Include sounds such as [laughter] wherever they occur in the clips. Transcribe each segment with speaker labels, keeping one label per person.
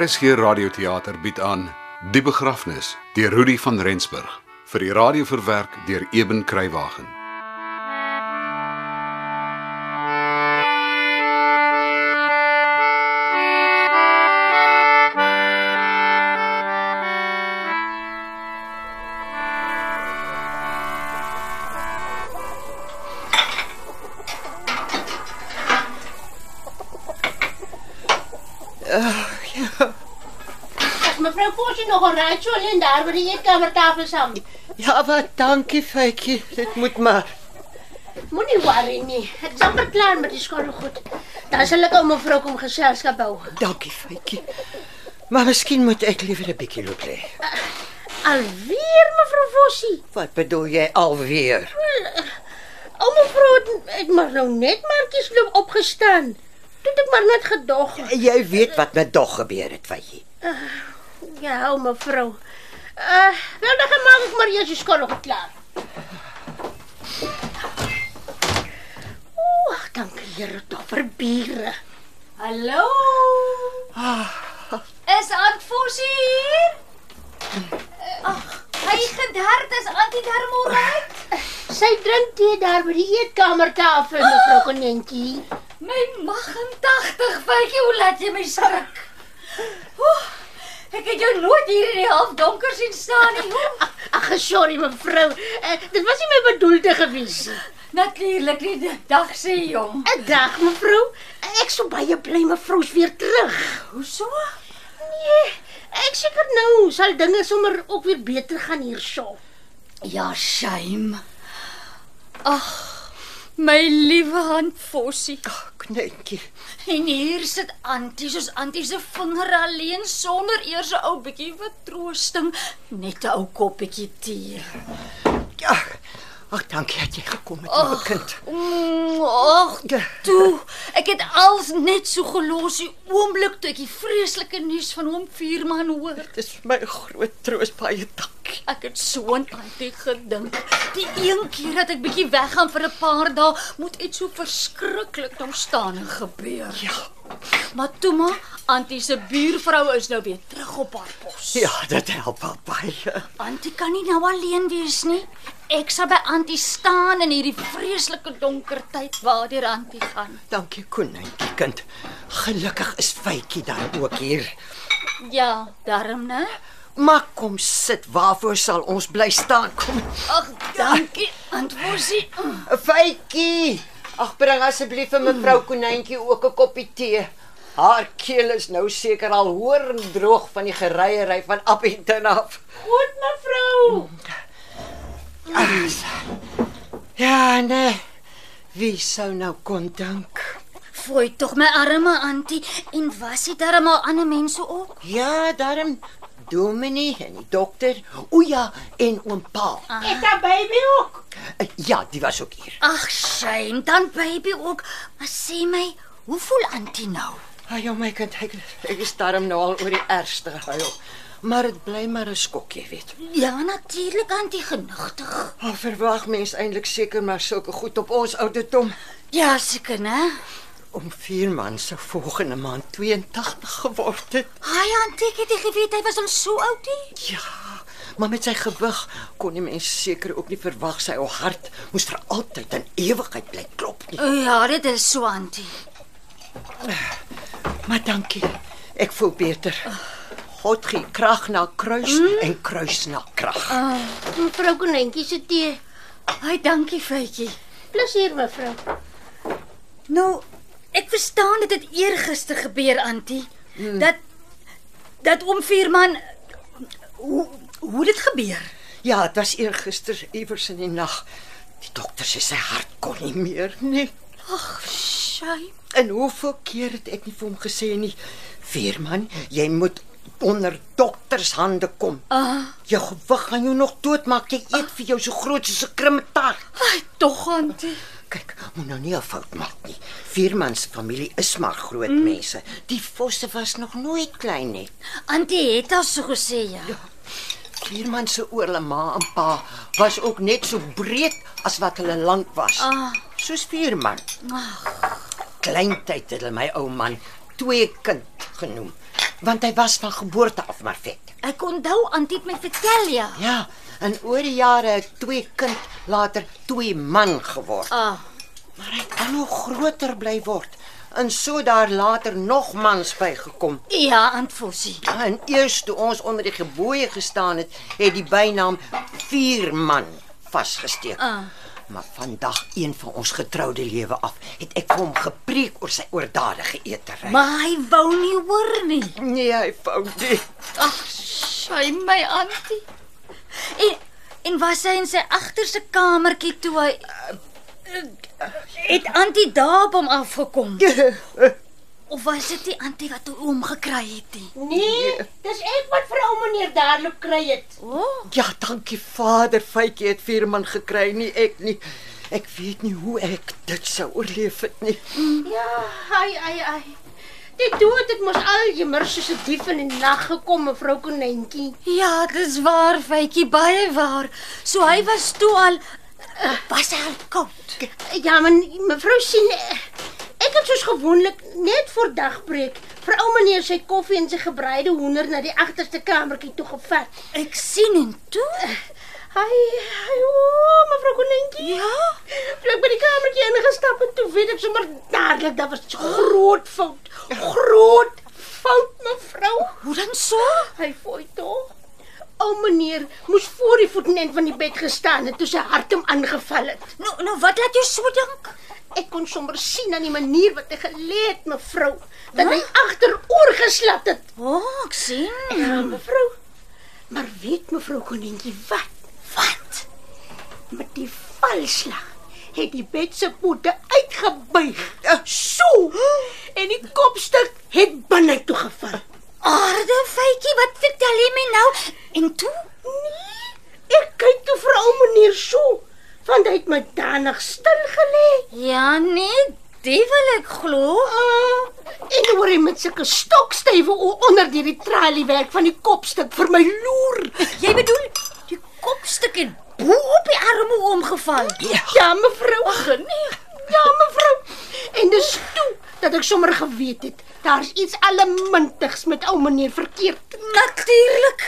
Speaker 1: RSG Radioteater bied aan Die Begrafnis deur Rudi van Rensburg vir die radio verwerk deur Eben Kruiwagen.
Speaker 2: Is mevrou Posie nog al reg so lê daar by die eetkamertafel saam?
Speaker 3: Ja, wat dankie, Faitjie. Dit moet maar.
Speaker 2: Moenie worry nie. Ek sal verklaar met die skare goed. Dan sal ek ou mevrou kom geselskap hou.
Speaker 3: Dankie, Faitjie. Maar miskien moet ek liewer 'n bietjie loop lê.
Speaker 2: Alweer mevrou Posie.
Speaker 3: Wat bedoel jy alweer?
Speaker 2: Ou mevrou het, het maar nou net maartjies loop opgestaan. Toe het ek maar net gedog.
Speaker 3: Jy weet wat met dog gebeur het, Faitjie.
Speaker 2: Ja, ou mevrou. Uh, wel dan gaan maak ek maar eers die skare goed klaar. Ooh, ag, dankie Here tog vir biere.
Speaker 4: Hallo. Is Aunt Fossie hier? Ag, hy gederd is Auntie [laughs] Dermelryd.
Speaker 2: Sy drink tee daar by die eetkamertafel, mevrou Konjentjie.
Speaker 4: My magentagtig vytjie, hoe laat jy my skrik? Oeh, ek het jou nooit hier in die halfdonker sien staan nie. Oeh,
Speaker 2: Ag, sorry mevrou. Uh, dit was nie my bedoelde gewees nie.
Speaker 4: Natuurlik nie die dag sê jong.
Speaker 2: 'n Eh, Dag mevrou. Eh, Ek sou baie bly mevrou's weer terug.
Speaker 4: Hoe so?
Speaker 2: Nee, ek seker nou sal dinge sommer ook weer beter gaan hierso.
Speaker 4: Ja, shame. Ag, my liewe Aunt Fossie.
Speaker 3: Knetjie.
Speaker 4: En hier sit Antie soos Antie se vinger alleen sonder eers 'n ou bietjie vertroosting, net 'n ou koppietjie tee.
Speaker 3: Ja. Ag, dankie dat jy gekom het, my
Speaker 4: Ag.
Speaker 3: kind.
Speaker 4: Mm, Ag,
Speaker 3: Ja.
Speaker 4: toe. Ek het als net so gelos die oomblik toe ek die vreeslike nuus van hom vierman hoor.
Speaker 3: Dit is vir my 'n groot troos, baie dankie.
Speaker 4: Ek het so aan Antie gedink. Die een keer dat ek bietjie weggaan vir 'n paar dae, moet iets so verskriklik nou staan en gebeur.
Speaker 3: Ja.
Speaker 4: Maar toe maar, Antie se buurvrou is nou weer terug op haar pos.
Speaker 3: Ja, dit help al baie.
Speaker 4: Antie kan nie nou alleen wees nie. Ek sal by Antie staan in hierdie vreeslike donker tyd waardeur Antie gaan.
Speaker 3: Dankie, Knetjie, kind. Gelukkig is Faitjie dan ook hier.
Speaker 4: Ja, darm, né?
Speaker 3: Maar kom sit, waarvoor sal ons bly staan? Kom.
Speaker 4: Ag, dankie, Antwosie. Mm.
Speaker 3: 'n Fytjie. Ag bring asseblief vir mevrou Konyntjie ook 'n koppie tee. Haar keel is nou seker al hoor en droog van die gereiery van Appington af.
Speaker 2: Goed mevrou.
Speaker 3: Ja, nee. Wie sou nou kon dink?
Speaker 4: Fooi tog my arme Antie en was dit darm al ander mense ook?
Speaker 3: Ja, daarom Dominee en die dokter, o ja, en oom Paul.
Speaker 4: Ah.
Speaker 2: Het haar baby ook?
Speaker 3: Eh, Ja, die was ook hier.
Speaker 4: Ag, shame, dan baby ook. Maar sê my, hoe voel Antie nou?
Speaker 3: Ai, oh my kind, ek, ek is daarom nou al oor die ergste gehuil. Maar dit bly maar 'n skokkie, weet.
Speaker 4: Ja, natuurlik Antie genugtig.
Speaker 3: Al verwag mens eintlik seker maar sulke goed op ons ouderdom.
Speaker 4: Ja, seker, né?
Speaker 3: om vier man se volgende maand 82 geword het.
Speaker 4: Hi Antie, ek het nie geweet hy was om so oud nie.
Speaker 3: Ja, maar met sy gewig kon die mens seker ook nie verwag sy ou hart moes vir altyd en ewigheid bly klop nie.
Speaker 4: O, Ja, dit is so Antie.
Speaker 3: Maar dankie. Ek voel beter. God gee krag na kruis mm. en kruis na krag.
Speaker 2: Mevrou Konjentjie se tee.
Speaker 4: Hi, dankie, Faitjie.
Speaker 2: Plesier mevrou.
Speaker 4: Nou, ek verstaan dit het eergister gebeur, Antie. Hmm. Dat dat oom Vierman hoe hoe dit gebeur.
Speaker 3: Ja, dit was eergister iewers in die nag. Die dokter sê sy hart kon nie meer nie.
Speaker 4: Ag, Shay.
Speaker 3: En hoeveel keer het ek nie vir hom gesê nie, "Veerman, jy moet onder doktershande kom.
Speaker 4: Ah,
Speaker 3: Jou gewig gaan jou nog doodmaak. Jy eet vir jou so groot soos 'n krimmetaart."
Speaker 4: ai, tog antie.
Speaker 3: Kyk, moet nou nie 'n fout maak nie. Vierman se familie is maar groot mm. mense. Die Vosse was nog nooit klein nie.
Speaker 4: Antie het al so gesê ja.
Speaker 3: Vierman se oorle ma en pa was ook net so breed as wat hulle lank was.
Speaker 4: Ah.
Speaker 3: Soos Vierman. Kleintyd het hulle my ou man twee kind genoem, want hy was van geboorte af maar vet.
Speaker 4: Ek onthou antie het my vertel ja.
Speaker 3: Ja, en oor die jare het twee kind later twee man geword.
Speaker 4: Ah,
Speaker 3: Maar hy kan nog groter bly word. En so daar later nog mans bygekom.
Speaker 4: ja, Aunt Fossie.
Speaker 3: En eers toe ons onder die geboue gestaan het, het die bynaam Vierman vasgesteek.
Speaker 4: Ah.
Speaker 3: Maar vandag een van ons getroude lewe af, het ek vir hom gepreek oor sy oordadige eetery.
Speaker 4: Maar hy wou nie hoor nie.
Speaker 3: nee, hy vou dit.
Speaker 4: Ag, sy my antie. En en was hy in sy agterste kamertjie toe hy Eh, het antie daar op hom afgekom. Of was dit die antie wat hom gekry het? nie?
Speaker 2: Nee, Hm? dis ek wat vir ou meneer daarloop kry het.
Speaker 4: O, oh,
Speaker 3: [laughs] Ja, dankie Vader, Faitjie het Vierman gekry, nie ek nie. Ek weet nie hoe ek dit sou oorleef het nie.
Speaker 2: Ja, ai ai ai. Die dood het mos al jemmer soos 'n dief in die nag gekom, mevrou Konyntjie.
Speaker 4: ja, dis waar, Faitjie, baie waar. So hy was toe al eh, was hy al koud.
Speaker 2: Ja, maar mevrou sien eh, ek het soos gewoonlik net voor dagbreek vir ou meneer sy koffie en sy gebreide hoender na die agterste kamertjie toe gevat.
Speaker 4: Ek sien en toe.
Speaker 2: Ai, ai, o, mevrou Konyntjie.
Speaker 4: Ja,
Speaker 2: Toe ek by die kamertjie ingestap het, toe weet ek sommer dadelik dat was groot fout. Groot fout, mevrou.
Speaker 4: hoe dan so?
Speaker 2: Hy fooi tog. Ou meneer moes voor die voetend van die bed gestaan het toe sy hart hom aangeval het.
Speaker 4: Nou nou wat laat jou so dink?
Speaker 2: Ek kon sommer sien aan die manier wat hy gelê het, mevrou, dat hy agteroor geslap het.
Speaker 4: O, oh, ek sien.
Speaker 2: Ja, mevrou. Maar weet mevrou Konintjie wat? Wat? Met die valslag het die bed se pote uitgebuig. So. En die kopstuk het binne toe geval.
Speaker 4: Aarde feitjie, wat vertel jy my nou? En toe?
Speaker 2: Nee, ek kyk toe vir ou meneer so, want hy het my danig stil gelê.
Speaker 4: Ja, nee, dit wil ek glo.
Speaker 2: Ah, en hoe hy met sulke stokstywe o- onder hierdie traliewerk van die kopstuk vir my loer.
Speaker 4: Jy bedoel die kopstuk het bo op die arme oomgeval.
Speaker 2: Ja, mevrou. Ag nee. Ja, mevrou. En dis toe dat ek sommer geweet het, daar's iets allemintigs met ou meneer verkeerd.
Speaker 4: Natuurlik.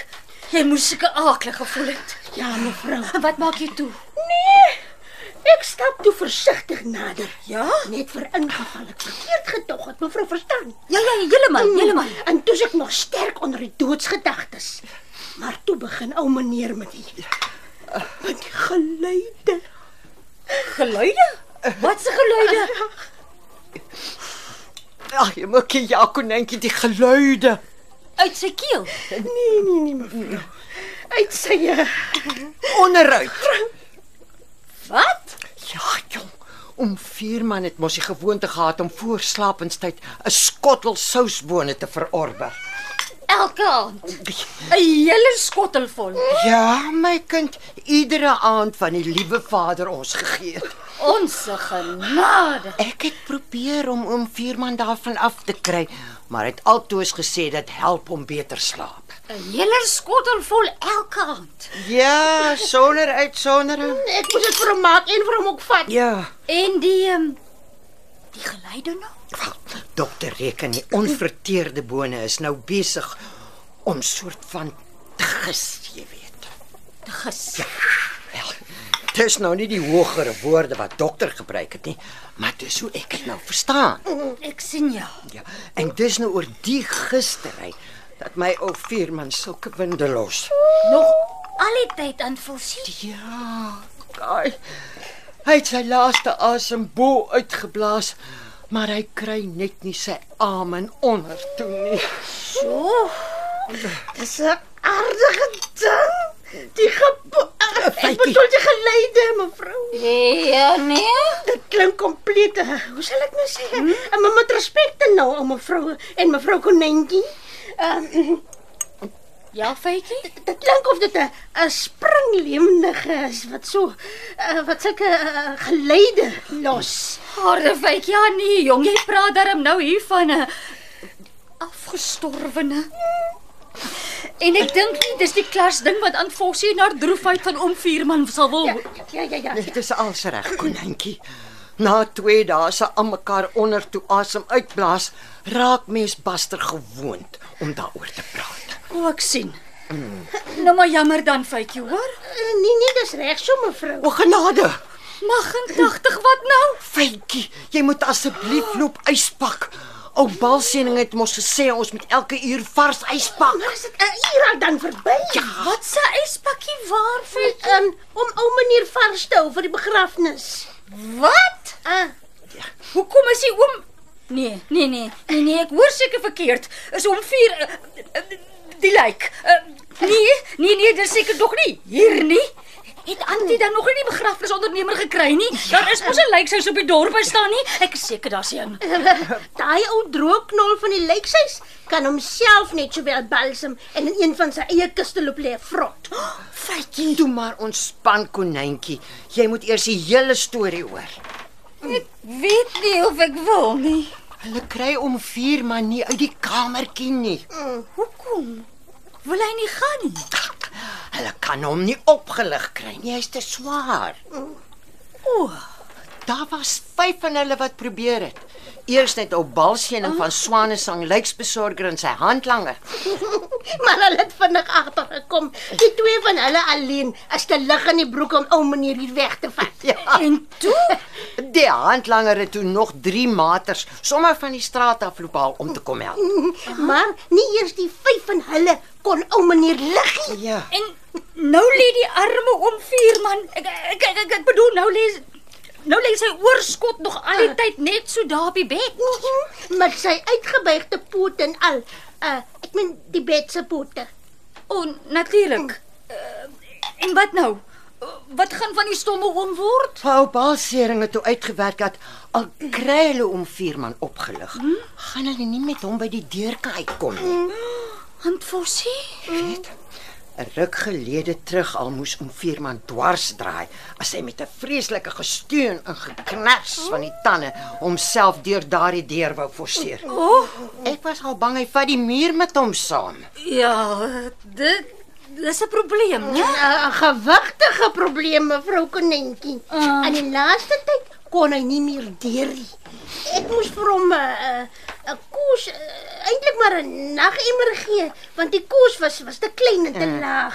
Speaker 4: Jy moes seker aaklig gevoel het.
Speaker 2: Ja, mevrou.
Speaker 4: Wat maak jy toe?
Speaker 2: Nee. Ek stap toe versigtig nader.
Speaker 4: Ja?
Speaker 2: Net vir ingeval ek verkeerd gedog het, mevrou verstaan.
Speaker 4: Ja, ja, heeltemal, heeltemal.
Speaker 2: En toe is ek nog sterk onder die doodsgedagtes. Maar toe begin ou meneer met die met die geluide.
Speaker 4: Geluide? Wat se geluide?
Speaker 3: Ag, jy moet kyk, ja, konintjie, die geluide.
Speaker 4: Uit sy keel.
Speaker 2: Nee, nee, nee, mevrou. Uit sy eh,
Speaker 3: onderuit.
Speaker 4: Wat?
Speaker 3: Ja, jong. Om vierman het mos die gewoonte gehad om voor slaapenstyd 'n skottel sousbone te verorber.
Speaker 4: Elke [laughs] aand 'n hele skottel vol.
Speaker 3: Ja, my kind, iedere aand van die liewe Vader ons gegee. het.
Speaker 4: Onse genade.
Speaker 3: Ek het probeer om oom vierman daarvan af te kry, maar hy het altoos gesê dit help om beter slaap.
Speaker 4: 'n Hele skottel vol elke aand.
Speaker 3: Ja, sonder uitsondering.
Speaker 2: ek moes dit vir hom maak en vir hom ook vat.
Speaker 3: Ja.
Speaker 4: En die ehm die geluide nou?
Speaker 3: Dokter reken die onverteerde bone is nou besig om soort van te gis, jy weet.
Speaker 4: Die ges.
Speaker 3: Wel, dis nou nie die hogere woorde wat dokter gebruik het nie, maar dis hoe ek dit nou verstaan.
Speaker 4: Ek sien jou.
Speaker 3: Ja, en dis nou oor die gistery dat my ou vierman sulke winde los.
Speaker 4: Nog al die tyd aan volsie.
Speaker 3: Ja, kai. Hy het sy laaste asem bo uitgeblaas, maar hy kry net nie sy amen onder toe nie.
Speaker 4: So.
Speaker 2: Dis 'n aardige ding. Die gebo- eh, Ek bedoel jy geleide, mevrou.
Speaker 4: Ja, nee.
Speaker 2: Dit klink kompleet. eh, Hoe sal ek nou sê? Hmm? Maar met respek dan nou aan mevrou en mevrou Konentjie. Ehm um,
Speaker 4: Ja, feitjie.
Speaker 2: dit klink of dit 'n 'n springleemnige is wat so uh, wat sulke uh, geleide los.
Speaker 4: Harde feitjie. Ja, nee, jong, jy praat darm nou hier van 'n afgestorwene. En ek dink nie dis die klas ding wat aan Fossie na droefheid van om Vierman sal wil. Ja.
Speaker 2: Ja ja ja.
Speaker 3: Dit is als reg, konynkie. Na 2 dae se aan mekaar onder toe asem uitblaas, raak mens baster gewoond om daaroor te praat.
Speaker 4: O, ek sien. Nou maar jammer dan feitjie, hoor.
Speaker 2: Eh, Nee nee, dis reg so mevrou.
Speaker 3: O genade,
Speaker 4: Mag en 80 wat nou?
Speaker 3: Faitjie, jy moet asseblief loop ys pak. Ou balsiening het mos gesê ons moet elke uur vars ys pak.
Speaker 2: Maar is dit 'n uur al dan verby? Ja.
Speaker 4: Wat se yspakkie waar vir
Speaker 2: Um, om ou meneer vars te hou vir die begrafnis.
Speaker 4: wat?
Speaker 2: Ah,
Speaker 4: Hoekom is hy oom Nee, nee, nee. Nee, nee, ek hoor seker verkeerd. Is hom vier eh, eh, die lijk. Eh, Nee, nee, nee, dis seker nog nie hier nie. Het Antie dan nog nie die begrafnisondernemer gekry nie? Daar is mos 'n lijkshuis op die dorp hy staan nie. Ek is seker daar's een.
Speaker 2: [laughs] daai ou droogknol van die lijkhuis kan homself net so baie balsem en in een van sy eie kiste loop lê vrot.
Speaker 3: Faitjie, doen maar ontspan konynkie. Jy moet eers die hele storie hoor.
Speaker 4: [gasps] Weet nie of ek wil nie.
Speaker 3: Hulle kry om 4 man nie uit die kamertjie nie.
Speaker 4: Hoekom? Wil hy nie gaan nie?
Speaker 3: Hulle kan hom nie opgelig kry nie. Hy's te swaar.
Speaker 4: O,
Speaker 3: Daar was 5 van hulle wat probeer het. Eers net ou balsiening van Swanesang lyksbesorger in sy handlanger.
Speaker 2: maar hulle het vinnig agtergekom. Die twee van hulle alleen is te lig in die broek om ou meneer hier weg te vat.
Speaker 3: Ja.
Speaker 4: en toe
Speaker 3: Die handlanger het toe nog 3 maters sommer van die straat af loop haal om te kom help.
Speaker 2: [laughs] Maar nie eers die vyf van hulle kon ou meneer liggie.
Speaker 3: Ja.
Speaker 4: En nou lê die arme om vier man. Ek ek ek, ek, ek bedoel nou lê nou lê sy oorskot nog al die tyd net so daar op die bed. Mhm.
Speaker 2: Met sy uitgebuigde pote en al. Uh, ek meen die bed se pote.
Speaker 4: En natuurlik. eh, En wat nou? Wat gaan van die stomme oom word?
Speaker 3: Ou Balsering het toe uitgewerk dat al kry hulle om vier man opgelig, gaan hulle nie met hom by die deurkaai kom nie.
Speaker 4: Hand Fossie?
Speaker 3: Weet? 'n Ruk gelede terug al moes om vier man dwars draai as hy met 'n vreeslike gesteun en geknars van die tande homself deur daardie deur wou forceer.
Speaker 4: O,
Speaker 3: Ek was al bang hy vat die muur met hom saam.
Speaker 4: ja, dit dis 'n probleem, né?
Speaker 2: 'n eh, gewigtige probleem mevrou Konentjie.
Speaker 4: Ah.
Speaker 2: Aan die laaste tyd kon hy nie meer deur nie. Ek moes vir hom 'n uh, 'n kos uh, eintlik maar 'n nagemmer gee want die kos was was te klein en te laag.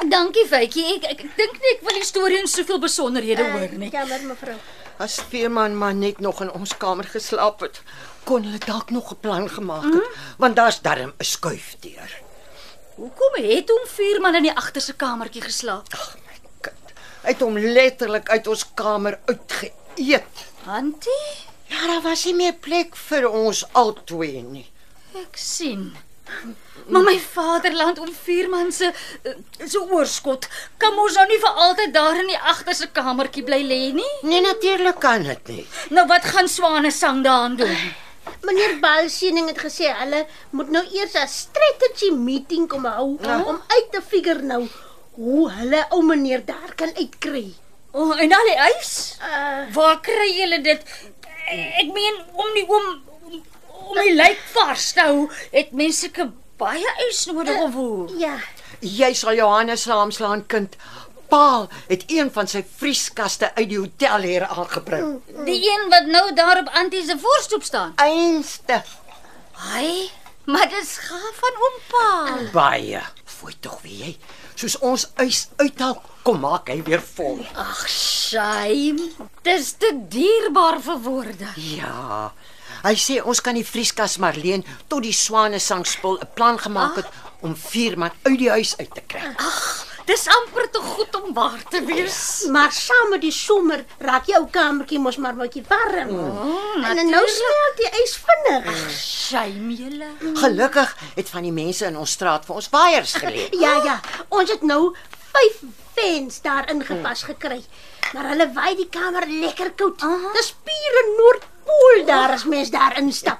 Speaker 4: Ja, Dankie Faitjie. Ek ek, ek dink nie ek wil die storie in soveel besonderhede hoor nee. nie.
Speaker 2: Eh, Jammer mevrou.
Speaker 3: As Veerman maar net nog in ons kamer geslaap het, kon hulle dalk nog 'n plan gemaak het, mm. want daar's darm 'n skuifdeur.
Speaker 4: Hoekom het hom vier man in die agterste kamertjie geslaap?
Speaker 3: Ag my kind. Hy het hom letterlik uit ons kamer uitgeëet.
Speaker 4: Antie?
Speaker 3: Ja, daar was nie meer plek vir ons albei nie.
Speaker 4: Ek sien. Maar my vaderland om vierman se eh, se oorskot kan mos nou nie vir altyd daar in die agterste kamertjie bly lê nie.
Speaker 3: Nee, natuurlik kan dit nie.
Speaker 4: Nou wat gaan swane sang daaraan doen?
Speaker 2: Meneer Balsiening het gesê hulle moet nou eers 'n strategy meeting kom hou om uit te figure nou hoe hulle ou meneer daar kan uitkry.
Speaker 4: O, oh, en al die ys?
Speaker 2: Uh,
Speaker 4: Waar kry julle dit? Eh, Ek meen om die oom om die lijk vars te hou, het mense sulke baie ys nodig om hoe.
Speaker 2: ja.
Speaker 3: Jy sal Johannes saamslaan, kind. Paal het een van sy vrieskaste uit die hotel hier aangebring.
Speaker 4: Die een wat nou daar op Antie se voorstoep staan.
Speaker 3: Einste
Speaker 4: Hy, maar dis gaaf van oom Paal.
Speaker 3: baie. Fooi tog wie jy. Soos ons ys uithaal, kom maak hy weer vol.
Speaker 4: Ag, shame. Dis te dierbaar vir woorde.
Speaker 3: Ja. Hy sê ons kan die vrieskas maar leen tot die swane sangspul 'n plan gemaak het
Speaker 2: Ah.
Speaker 3: om vier man uit die huis uit te kry.
Speaker 4: Dis amper te goed om waar te wees.
Speaker 2: Maar saam met die somer raak jou kamertjie mos maar bietjie warm. Mm, en nou smelt die ys vinnig.
Speaker 4: Shame julle.
Speaker 2: [laughs]
Speaker 4: oh.
Speaker 3: Gelukkig het van die mense in ons straat vir ons waaiers geleë.
Speaker 2: Ja ja, ons het nou 5 fans daar ingepas
Speaker 4: Mm.
Speaker 2: gekry. Maar hulle waai die kamer lekker koud. Dis pure Noordpool daar as mens daar instap.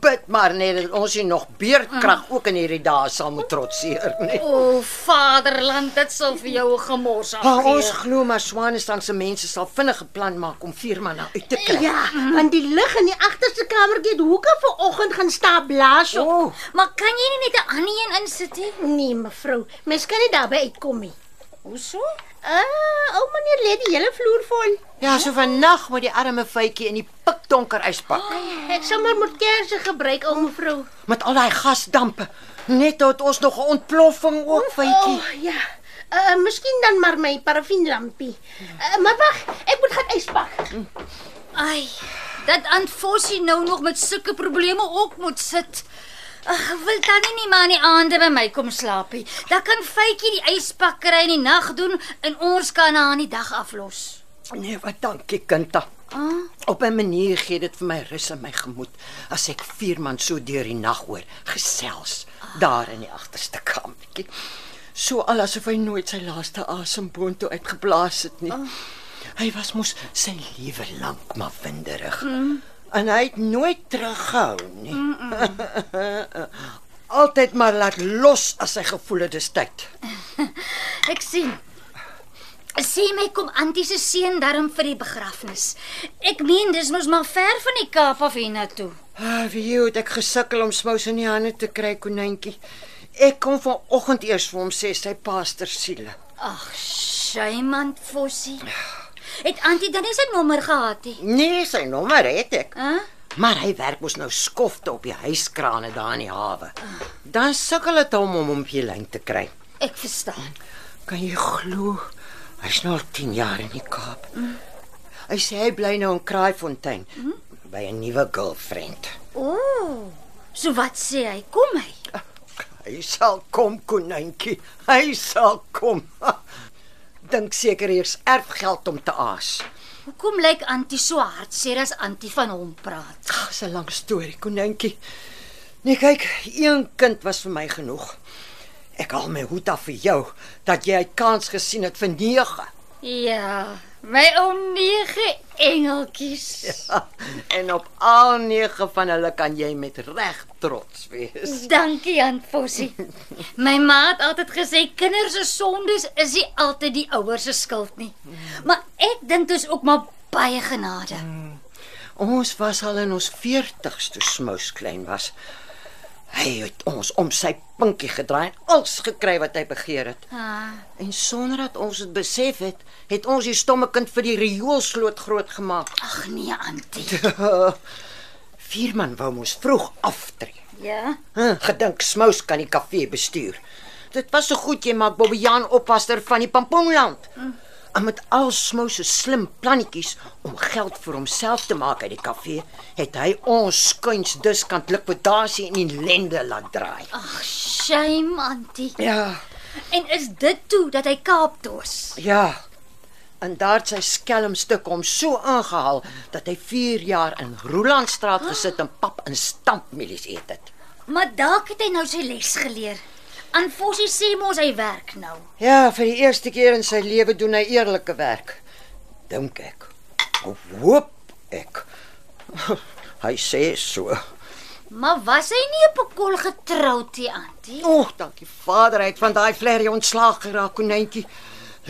Speaker 3: Bid maar net dat ons nie nog
Speaker 2: Ah.
Speaker 3: beerkrag ook in hierdie dae sal moet trotseer
Speaker 2: Oh,
Speaker 3: nee. nie.
Speaker 4: O, vaderland, dit sal vir jou 'n gemors afgee.
Speaker 3: Maar Ah, ons glo maar Swanestang se mense sal vinnig 'n plan maak om Vierman nou uit te kry.
Speaker 2: Ja,
Speaker 4: Mm.
Speaker 2: want die lig in die agterste kamertjie het hoeke vanoggend gaan staan blaas op.
Speaker 3: O,
Speaker 4: Oh. Maar kan jy nie net 'n ander een insit nie?
Speaker 2: Nee mevrou, mens kan nie daarby uitkom nie.
Speaker 4: Hoe so?
Speaker 2: Ah, ou meneer lê die hele vloer vol.
Speaker 3: ja, so vannag moet die arme vytjie in die pikdonker uitpak
Speaker 2: Ek sal maar moet kersse gebruik, ou mevrou.
Speaker 3: met al daai gasdampe. Net tot ons nog 'n ontploffing ook vytjie.
Speaker 2: Oh, ja. Uh, miskien dan maar my parafinlampie. Uh, maar wag, ek moet gaan ys pak.
Speaker 4: Ai, dat Antfossie nou nog met sulke probleme ook moet sit. Ag, wil tannie nie maar in die aande by my kom slaap nie. Dan kan Faitjie die yspakkery in die nag doen en ons kan haar in die dag aflos.
Speaker 3: Nee, wat dankie, Kinta.
Speaker 4: Ah.
Speaker 3: Op 'n manier gee dit vir my rus in my gemoed as ek vier man so deur die nag hoor gesels daar in die agterste kamertjie. So al asof hy nooit sy laaste asem boontoe uitgeblaas het nie. Hy was mos sy lewe lank maar winderig. Mm. En hy het nooit teruggehou nie. Mm -mm. [laughs] Altyd maar laat los as hy gevoel het dis tyd.
Speaker 4: Ek sien. Sê my kom Antie se seun darm vir die begrafnis. Ek meen dis mos maar ver van die Kaap af hiernatoe.
Speaker 3: Ah, vir jou het ek gesukkel om smous in die hande te kry, konynetjie. Ek kom vanoggend eers vir hom sê sy paaster siele.
Speaker 4: Ag, Shaimand Fossie. Het Antie dan nie sy nommer gehad nie?
Speaker 3: Nee, sy nommer het ek.
Speaker 4: Hæ?
Speaker 3: Maar hy werk mos nou skofte op die huiskrane daar in die hawe. Dan sukkel dit hom om hom op die lyn te kry.
Speaker 4: Ek verstaan.
Speaker 3: Kan jy glo? Hy's nou al 10 jaar in die Kaap. Hy sê hy bly nou in Kraaifontein by 'n nuwe girlfriend.
Speaker 4: O. Oh, so wat sê hy? Kom hy.
Speaker 3: Hy sal kom, konynkie. Hy sal kom. [laughs] Dink seker hier's erfgeld om te aas.
Speaker 4: Hoekom lyk Antie so hartseer as Antie van hom praat?
Speaker 3: Ag, dis 'n lang storie, konynkie. Nee, kyk, een kind was vir my genoeg. Ek haal my hoed af vir jou dat jy 'n kans gesien het vir 9
Speaker 4: Ja, my oom nege engeltjies. Ja.
Speaker 3: [laughs] en op al 9 van hulle kan jy met reg trots wees.
Speaker 4: Dankie Ant Fossie. My ma het altyd gesê kinders se sondes is nie altyd die ouers se skuld nie. Maar ek dink dit is ook maar baie genade.
Speaker 3: Ons was al in ons 40's toe Smous klein was. Hy het ons om sy pinkie gedraai en alles gekry wat hy begeer het.
Speaker 4: Ah,
Speaker 3: En sonder dat ons dit besef het, het ons die stomme kind vir die rioolsloot groot gemaak.
Speaker 4: ag nee Antie.
Speaker 3: [laughs] Vierman wou mos vroeg aftree.
Speaker 4: Ja.
Speaker 3: Huh, gedink Smous kan die kafee bestuur. Dit was so goed jy maak Bobbejaan oppasster van die Pamponland. En met al Smous se slim plannetjies om geld vir homself te maak uit die kafee, het hy ons skuins diskant likwidasie en ellende laat draai.
Speaker 4: Ag shame Antie.
Speaker 3: Ja,
Speaker 4: En is dit toe dat hy Kaap toe is?
Speaker 3: ja. En daar het sy skelm stuk hom so ingehaal dat hy 4 jaar in Rolandstraat gesit en pap en stampmielies eet het.
Speaker 4: Maar dalk het hy nou sy les geleer. Aan Fossie sê mos hy werk nou.
Speaker 3: Ja, vir die eerste keer in sy lewe doen hy eerlike werk. Dink ek. Of hoop ek. [laughs] Hy sê so.
Speaker 4: Maar was hy nie op 'n kol getroud nie, Antie?
Speaker 3: Oeg, dankie Vader, hy het van daai vlerrie ontslaag geraak, konynkie.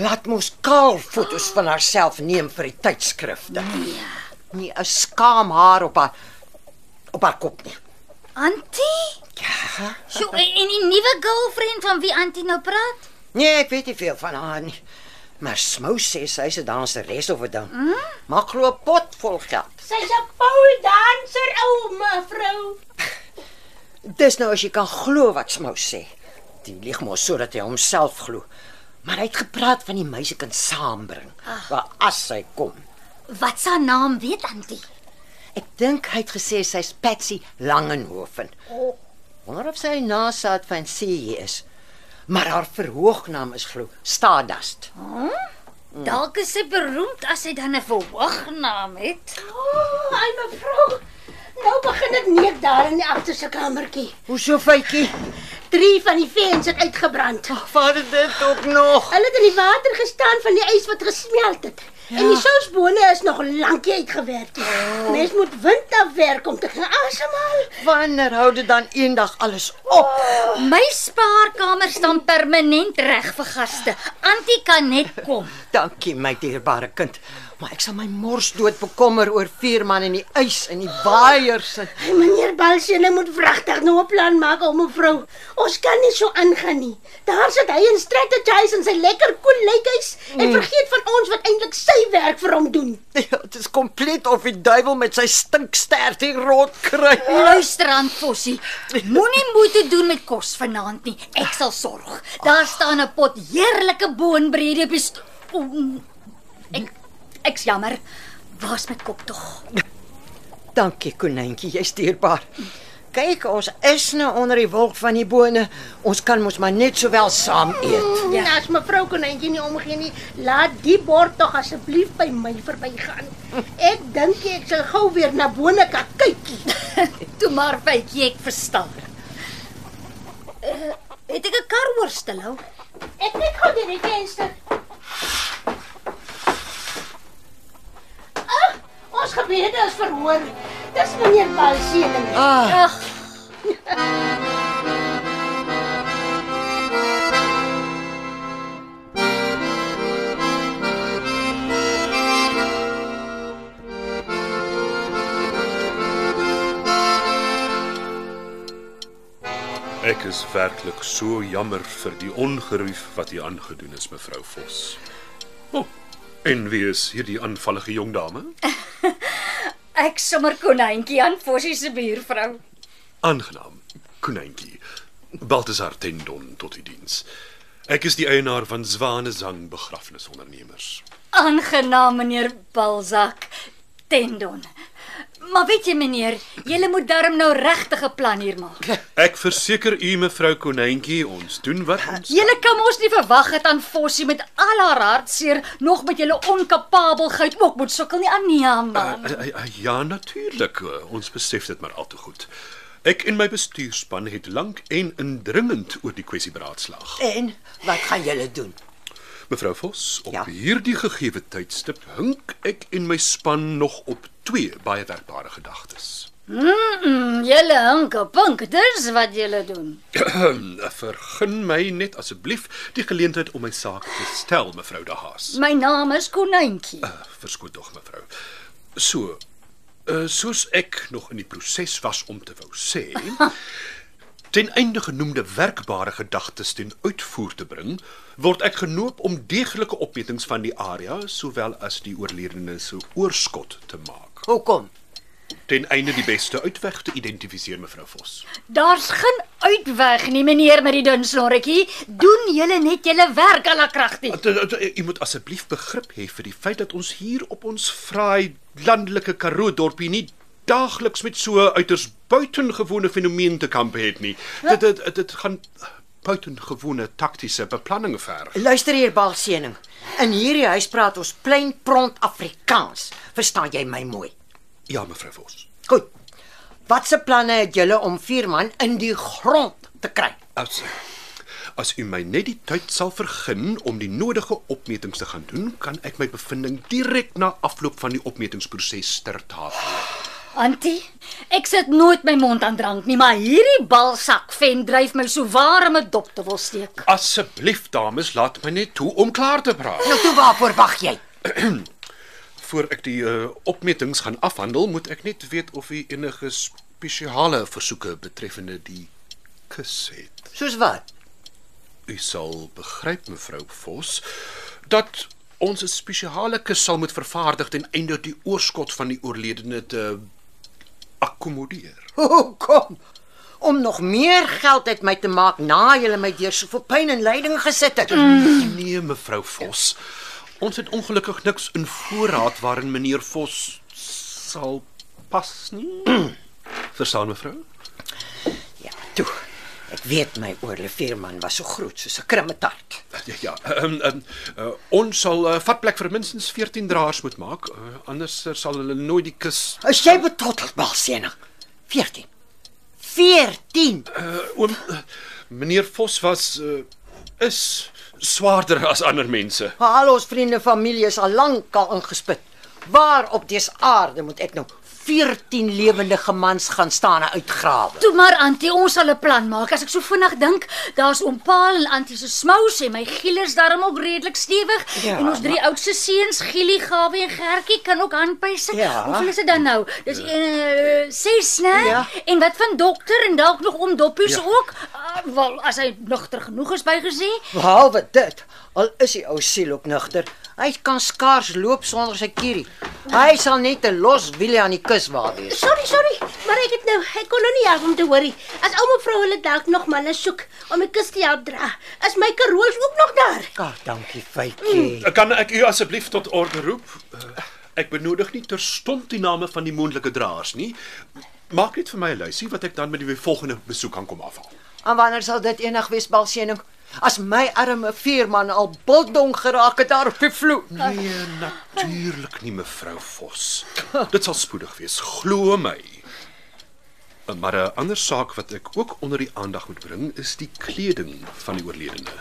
Speaker 3: Laat mos kaal fotos van haarself neem vir die tydskrifte. Nee. Nie 'n skaam haar op haar op haar kop nie.
Speaker 4: Antie?
Speaker 3: Ja.
Speaker 4: Sjoe, en en die nuwe girlfriend van wie Antie nou praat?
Speaker 3: Nee, ek weet nie veel van haar nie. Maar Smou sê sy's 'n danseres of 'n ding. Mm? Maar glo 'n pot vol geld.
Speaker 2: Sy's 'n pooldanser, ou mevrou.
Speaker 3: Dis nou as jy kan glo wat Smou sê. Die lieg mos sodat hy homself glo. Maar hy het gepraat van die meisie kan saambring. Waar as sy kom.
Speaker 4: Wat se naam weet Antie?
Speaker 3: Ek dink hy het gesê sy's Patsy Langenhoven.
Speaker 4: O.
Speaker 3: Wonder of sy nasaat van Siegie is. Maar haar verhoognaam is glo Stardust.
Speaker 4: Dalk is sy beroemd as hy dan 'n verhoognaam het.
Speaker 2: O, oh, ai mevrou. Nou begin dit neek daar in die agterste kamertjie.
Speaker 3: Hoe so feitjie?
Speaker 2: Drie van die fans het uitgebrand.
Speaker 3: Wat het dit ook nog?
Speaker 2: Hulle het in die water gestaan van die ys wat gesmelt het. En die sousbone is nog lank nie uitgewerk nie. Mens moet wind afwerk om te gaan asemhaal.
Speaker 3: Wanneer hou dit dan eendag alles op?
Speaker 4: My spaarkamer staan permanent reg vir gaste. Antie kan net kom.
Speaker 3: Dankie my dierbare kind. Maar ek sal my mors dood bekommer oor vierman en die ys en die waaiers en
Speaker 2: Hey, meneer Balsene moet wragtig nou 'n plan maak om mevrou. Ons kan nie so aangaan nie. Daar sit hy en strategize in sy lekker koel lykies en vergeet van ons wat eintlik sy werk vir hom doen.
Speaker 3: Ja, dit is kompleet of die duiwel met sy stinkstert hier rond kry.
Speaker 4: Luister aan Fossie. Moenie moeite doen met kos vanaand nie. Ek sal sorg. Daar staan 'n pot heerlike boonbrede op die sto- O, Ek ek's jammer. Waar's my kop tog?
Speaker 3: Dankie konyntjie, jy's dierbaar. Kyk, ons is nou onder die wolk van die bone. Ons kan mos maar net sowel saam eet.
Speaker 2: Ja. En as mevrou konynjie nie omgee nie, laat die bord tog asseblief by my verbygaan. Ek dink ek sal gou weer na bone kan kykie.
Speaker 4: Toe maar fytjie ek verstaan. Eh, Het ek 'n kar oorstel hou?
Speaker 2: Ek kyk gou deur die venster. Ag, Ah, ons gebede is verhoor. Dis meneer Balsene.
Speaker 3: Ah.
Speaker 4: Ag,
Speaker 5: Ek is werklik so jammer vir die ongeruif wat u aangedoen is, mevrou Vos. Oh, en wie is hierdie aanvallige jong dame?
Speaker 4: ek sommer konyntjie aan Fossie se buurvrou.
Speaker 5: Aangenaam. Konyntjie. Balthazar Tendon tot u diens. Ek is die eienaar van Zwanezang Begrafnisondernemers.
Speaker 4: Aangenaam meneer Balzak Tendon. Maar weet jy meneer, jy moet darm nou regtig 'n plan hier maak.
Speaker 5: Ek verseker u mevrou Konyntjie, ons doen wat ons
Speaker 4: Julle kan mos nie verwag het aan Fossie met al haar hartseer nog met julle onkapabelheid ook moet sukkel nie aan nie man.
Speaker 5: Uh, uh, uh, ja, natuurlik. uh, Ons besef dit maar al te goed. Ek en my bestuurspan het lank en indringend oor die kwessie beraadslaag.
Speaker 3: En wat gaan julle doen?
Speaker 5: Mevrou Vos, op
Speaker 3: Ja.
Speaker 5: hierdie gegeewe tydstip hink ek en my span nog op twee baie werkbare gedagtes. [clears throat]
Speaker 4: Mm, julle hinkepink, dis wat julle doen.
Speaker 5: Vergun my net asseblief die geleentheid om my saak te stel, mevrou De Haas.
Speaker 4: My naam is Konyntjie.
Speaker 5: Verskoot tog mevrou. So, uh, soos ek nog in die proses was om te wou sê, ten einde genoemde werkbare gedagtes ten uitvoer te bring, word ek genoop om deeglike opmetings van die area sowel as die oorledene se oorskot te maak,
Speaker 3: Hoekom?
Speaker 5: ten einde die beste uitweg te identifiseer mevrou Vos.
Speaker 4: Daar's geen uitweg nie, meneer met die dun snorretjie. Doen julle net julle werk aan la kragtig.
Speaker 5: Dat- dat- dat- U moet asseblief begrip hê vir die feit dat ons hier op ons fraai landelike Karoo dorpie nie daagliks met so 'n uiters buitengewone fenomeen te kamp het nie. Dit dit dit gaan buitengewone taktiese beplanning verg.
Speaker 3: Luister hier, Balsening. In hierdie huis praat ons plain pront Afrikaans. Verstaan jy my mooi?
Speaker 5: Ja, mevrou Vos.
Speaker 3: Goed. Wat se planne het julle om vierman in die grond te kry?
Speaker 5: As as u my net die tyd sal vergun om die nodige opmetings te gaan doen, kan ek my bevinding direk na afloop van die opmetingsproses ter tafel.
Speaker 4: Antie, ek sit nooit my mond aan drank nie, maar hierdie balsak ven dryf my so waar om 'n dop te wil steek.
Speaker 5: Asseblief dames, laat my net toe om klaar te praat.
Speaker 3: Nou toe waarvoor wag jy?
Speaker 5: Voor ek die uh, opmetings gaan afhandel, moet ek net weet of u enige spesiale versoeke betreffende die kus het.
Speaker 3: Soos wat? [laughs]
Speaker 5: U sal begryp mevrou Vos dat ons 'n spesiale kus sal moet vervaardig ten einde die oorskot van die oorledene te akkommodeer.
Speaker 3: Hoekom? Om nog meer geld uit my te maak na julle my deur soveel pyn en lyding gesit het.
Speaker 5: Nee mevrou Vos, ons het ongelukkig niks in voorraad waarin meneer Vos sal pas nie. Verstaan mevrou?
Speaker 3: Ja, toe. Ek weet my oorlevierman was so groot soos 'n krummetart.
Speaker 5: Ja, ja. Um, um, uh, ons sal uh, vatplek vir minstens 14 draers moet maak, uh, anders sal hulle nooit die kus.
Speaker 3: As jy betotteld, Balsenig. 14. 14.
Speaker 5: Uh, oom, uh, Meneer Vos was uh, is swaarder as ander mense.
Speaker 3: Al ons vriende familie is al lank al ingespit. Waar op dese aarde moet ek nou 14 lewendige mans gaan staan en uitgrawe?
Speaker 4: Toe maar Antie, ons sal 'n plan maak. As ek so vinnig dink, daar's oom Paul en Antie se smous en my gielers darm ook redelik stewig
Speaker 3: Ja,
Speaker 4: en ons drie oudste seuns, Gielie, Gawie en Gertjie kan ook handpyse.
Speaker 3: Ja.
Speaker 4: Hoeveel is dit dan nou? Dis eh, ses, né?
Speaker 3: Ja.
Speaker 4: En wat van dokter en dalk nog oom Doppies
Speaker 5: Ja.
Speaker 4: ook? Uh, wel, as hy nugter genoeg is bygesê.
Speaker 3: Behalwe dit, al is die ou siel ook nugter, hy kan skaars loop sonder sy kierie. Hy sal net 'n los wiele aan die kus waar wees.
Speaker 2: Sorry, sorry, maar ek het nou, ek kon nou nie help om te hoor nie. As ouma vrou hulle dalk nog manne soek om die kist te help dra, is my Karoos ook nog daar.
Speaker 3: Ag, dankie, Faitjie.
Speaker 5: Eh, Kan ek u asseblief tot orde roep? Uh, ek benodig nie terstond die name van die moontlike draers nie. Maak net vir my 'n lysie wat ek dan met die volgende besoek kan kom afhaal.
Speaker 3: En wanneer sal dit eendag wees, Balsening? As my arme veerman al biltong geraak het daar op die vloer.
Speaker 5: Nee, natuurlik nie mevrou Vos. Dit sal spoedig wees, glo my. Maar 'n ander saak wat ek ook onder die aandag moet bring, is die kleding van die oorledene.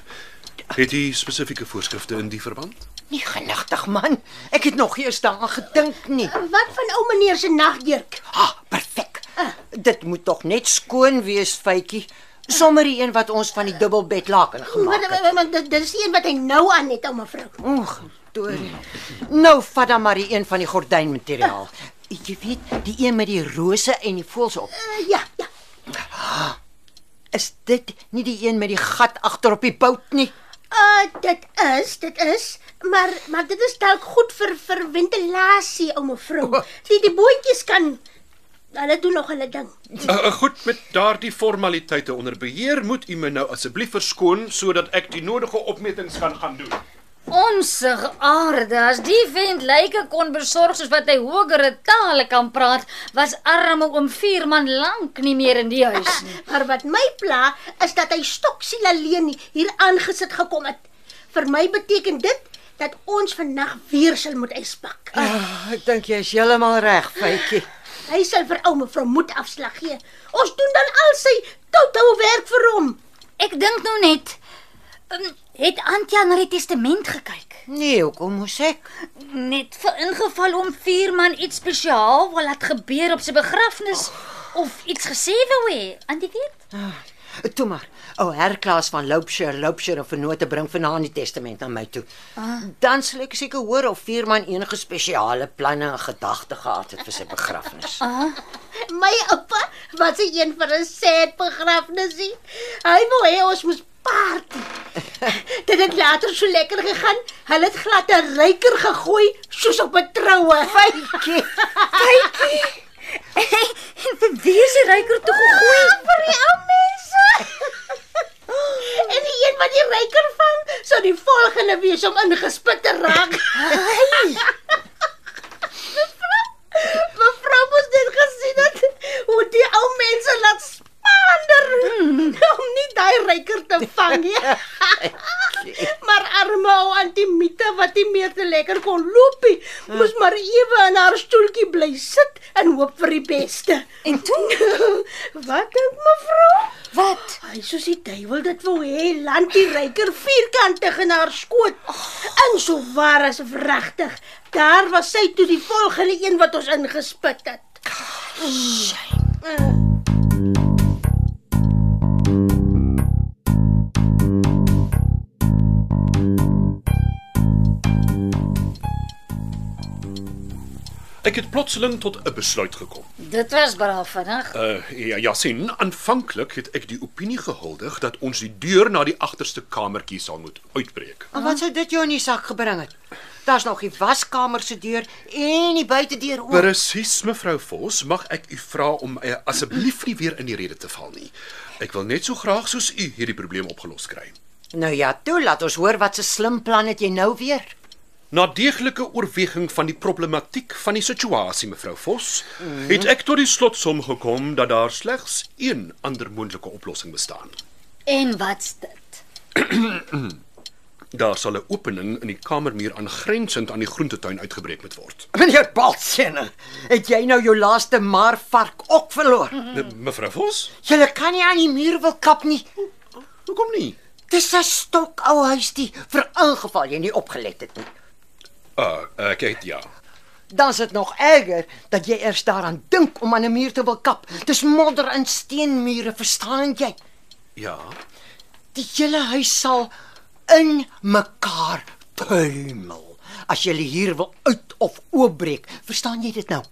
Speaker 5: Het u spesifieke voorskrifte in die verband?
Speaker 3: Nee, genigtig man, ek het nog eers daaraan gedink nie.
Speaker 2: Wat van ou meneer se nagjurk?
Speaker 3: Ah, perfek. Dit moet tog net skoon wees, Faitjie. Sommer die een wat ons van die dubbelbed laken gemaak het.
Speaker 2: Want dit dis een wat hy nou aan het, ouma vrou.
Speaker 3: Oeg, Dorie. Nou vat dan maar die een van die gordynmateriaal. Eh, Jy weet, die een met die rose en die voëls op.
Speaker 2: Uh, ja, ja.
Speaker 3: Is dit nie die een met die gat agter op die bout nie?
Speaker 2: Uh dit is, dit is, maar maar dit is dalk goed vir vir ventilasie, ouma vrou. Die die boontjies kan hulle doen nog hulle ding.
Speaker 5: Uh, uh, goed, met daardie formaliteite onder beheer moet u my nou asseblief verskoon sodat ek die nodige opmetings kan gaan doen.
Speaker 4: Onsig aarde, as die vent lyke kon besorg soos wat hy hogere tale kan praat, was arme oom Vierman lank nie meer in die huis nie.
Speaker 2: Maar wat my pla is dat hy stoksiel alleen hier aangesit gekom het. Vir my beteken dit dat ons vannag weer sal moet yspak.
Speaker 3: Ah, ek dink jy is heeltemal reg, Faitjie.
Speaker 2: Hy sal vir ou mevrou moet afslag gee. Ons doen dan al sy toutou werk vir hom.
Speaker 4: [laughs] Ek dink nou net ehm, het Antjie na die testament gekyk.
Speaker 3: Nee, hoekom moes ek?
Speaker 4: Net vir ingeval om Vierman iets spesiaal wil laat gebeur op sy begrafnis of iets gesê wou hê. Antjie weet?
Speaker 3: Toe maar. O, herklaas van Loupshire, Loupshire en vennote bring vanaand die testament aan my toe. Dan sal ek seker hoor of Vierman enige spesiale planne en gedagte gehad het vir sy begrafnis.
Speaker 2: My oupa was 'n een van 'n sad begrafnisie. Hy wou hê ons moes party. Dit het later so lekker gegaan. Hulle het glad 'n ryker gegooi soos op 'n troue. Fytjie.
Speaker 4: en vir wie is die ryker toe gegooi?
Speaker 2: Goeie Ah, vir die ou mense. [gasps] en die een wat die ryker vang, sou die volgende wees om ingespit te raak. Mevrou, mevrou moes dit gesien het hoe die ou mense laat spander om nie daai ryker te vang [laughs] nie. maar arme ou antimite wat nie meer te lekker kon loop nie, moes maar ewe in haar stoeltjie bly sit en hoop vir die beste.
Speaker 4: En toe
Speaker 2: [laughs] Wat dink mevrou?
Speaker 4: wat?
Speaker 2: Hy soos die duiwel dit wou hê, land die ryker vierkantig in haar skoot. In so waar as regtig. Daar was sy toe die volgende een wat ons ingespit het.
Speaker 5: Ek het plotseling tot 'n besluit gekom.
Speaker 4: Dit was braaf vinnig.
Speaker 5: Uh ja, Jasin, aanvanklik het ek die opinie gehuldig dat ons die deur na die agterste kamertjie sal moet uitbreek.
Speaker 3: En wat sou dit jou in die sak gebring het? Daar's nog die waskamer se deur en die buitedeur ook.
Speaker 5: Presies, mevrou Vos, mag ek u vra om uh, asseblief nie weer in die rede te val nie. Ek wil net so graag soos u hierdie probleem opgelos kry.
Speaker 3: Nou ja, toe laat ons hoor wat 'n slim plan het jy nou weer.
Speaker 5: Na deeglike oorweging van die problematiek van die situasie, mevrou Vos, het ek tot die slotsom gekom dat daar slegs een ander moontlike oplossing bestaan.
Speaker 4: En wat's dit?
Speaker 5: Daar sal 'n opening in die kamermuur aangrensend aan die groentetuin uitgebreek moet word.
Speaker 3: Meneer Baltsene, het jy nou jou laaste maar vark ook verloor?
Speaker 5: Me- Mevrou Vos?
Speaker 3: Jy kan nie aan die muur wil kap nie.
Speaker 5: Hoekom nie?
Speaker 3: Dis 'n stokou huis die vir ingeval jy nie opgelet het nie.
Speaker 5: Ah, uh, ek het ja.
Speaker 3: Dan is dit nog erger dat jy eers daaraan dink om aan 'n muur te wil kap. Dis modder en steenmure, verstaan jy?
Speaker 5: Ja.
Speaker 3: Die hele huis sal in mekaar tuimel as jy hier wil uit of oopbreek. Verstaan jy dit nou?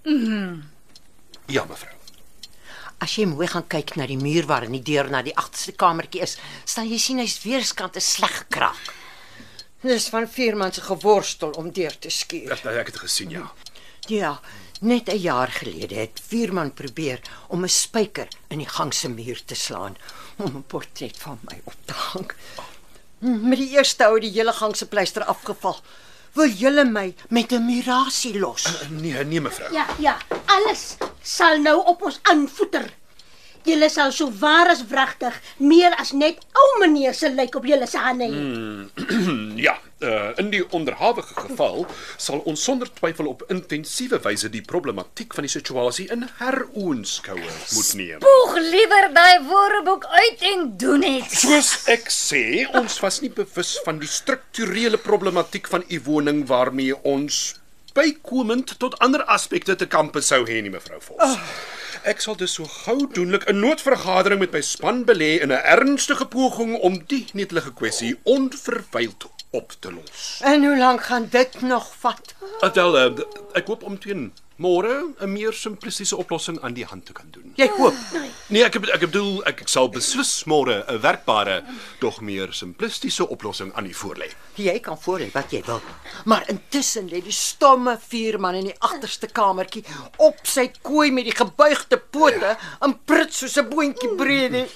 Speaker 5: Ja, mevrou.
Speaker 3: As jy mooi gaan kyk na die muur waar in die deur na die agterste kamertjie is, sal jy sien hy's weerskante sleg gekraak. Dis van Vierman se geworstel om deur te skuur.
Speaker 5: Ek, ek het gesien, ja.
Speaker 3: Ja, net 'n jaar gelede het Vierman probeer om 'n spyker in die gang se muur te slaan om 'n portret van my op te hang. Met die eerste ou het die hele gang se pleister afgeval. Wil julle my met 'n murasie los?
Speaker 5: Nee, nee mevrou.
Speaker 2: Ja, ja, alles sal nou op ons aanvoeter. Julle sal so waar as wragtig meer as net ou meneer se lyk op julle se hande hê.
Speaker 4: Hmm.
Speaker 5: Ja, uh, in die onderhawige geval sal ons sonder twyfel op intensiewe wyse die problematiek van die situasie in heroonskoue moet neem.
Speaker 4: Poeg liewer daai woordeboek uit en doen iets.
Speaker 5: Soos ek sê, ons was nie bewus van die strukturele problematiek van u woning waarmee ons bykomend tot ander aspekte te kampe sou hê nie mevrou Vos. Ah, Ek sal dus so gou doenlik 'n noodvergadering met my span belê in 'n ernstige poging om die netelige kwessie onverwyld op te los.
Speaker 3: En hoe lank gaan dit nog vat?
Speaker 5: Adel, eh, ek hoop om teen môre 'n meer simplistiese oplossing aan die hand te kan doen.
Speaker 3: Jy hoop.
Speaker 5: Nee, ek ek bedoel ek, ek sal beslis môre 'n werkbare, tog meer simplistiese oplossing aan u voorlê.
Speaker 3: Jy kan voor wat jy wil. Maar intussen lê die stomme vierman in die agterste kamertjie op sy kooi met die gebuigde pote en prut soos 'n boontjie brede.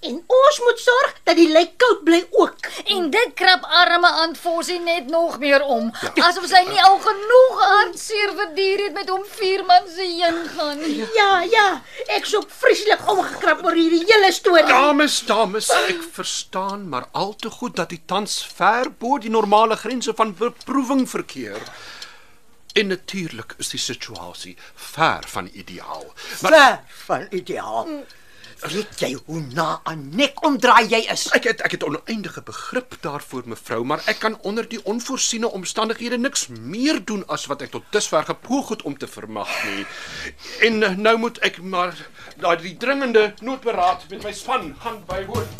Speaker 2: En ons moet sorg dat die lyk koud bly ook.
Speaker 4: En dit krap arme Aunt Fossie net nog meer om. Asof sy nie al genoeg hartseer verduur het met hom vierman se heen gaan nie.
Speaker 2: Ja, ja, ek soek vreeslik omgekrap oor hierdie hele storie.
Speaker 5: Dames, dames, ek verstaan maar al te goed dat u tans ver bo die normale grense van beproewing verkeer. En natuurlik is die situasie ver van ideaal. Maar
Speaker 3: Ver van ideaal. Weet jy hoe na aan nek omdraai jy is?
Speaker 5: Ek het ek het oneindige begrip daarvoor mevrou, maar ek kan onder die onvoorsiene omstandighede niks meer doen as wat ek tot dusver gepoog het om te vermag nie. En eh, nou moet ek maar daai dringende noodberaad met my span gaan bywoon.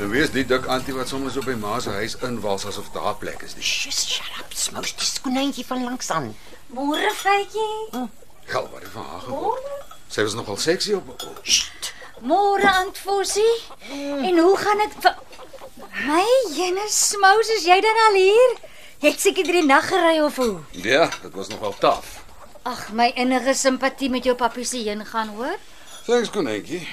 Speaker 1: Nou wees die dik antie wat soms op by ma se huis inwals asof daar plek is nie.
Speaker 3: Just shut up, smous die skoenentjie van langs aan.
Speaker 4: Môre feitjie.
Speaker 1: Gel wat het van haar gebeur. Sy was nogal seksie op. op-
Speaker 4: Môre Aunt Fossie. En hoe gaan dit vir- My jene smous is jy dan al hier? Jy het seker drie nag gery of hoe?
Speaker 1: Ja, dit was nogal taaf.
Speaker 4: Ag, my innige simpatie met jou papie se heen gaan, hoor.
Speaker 1: Thanks konetjie.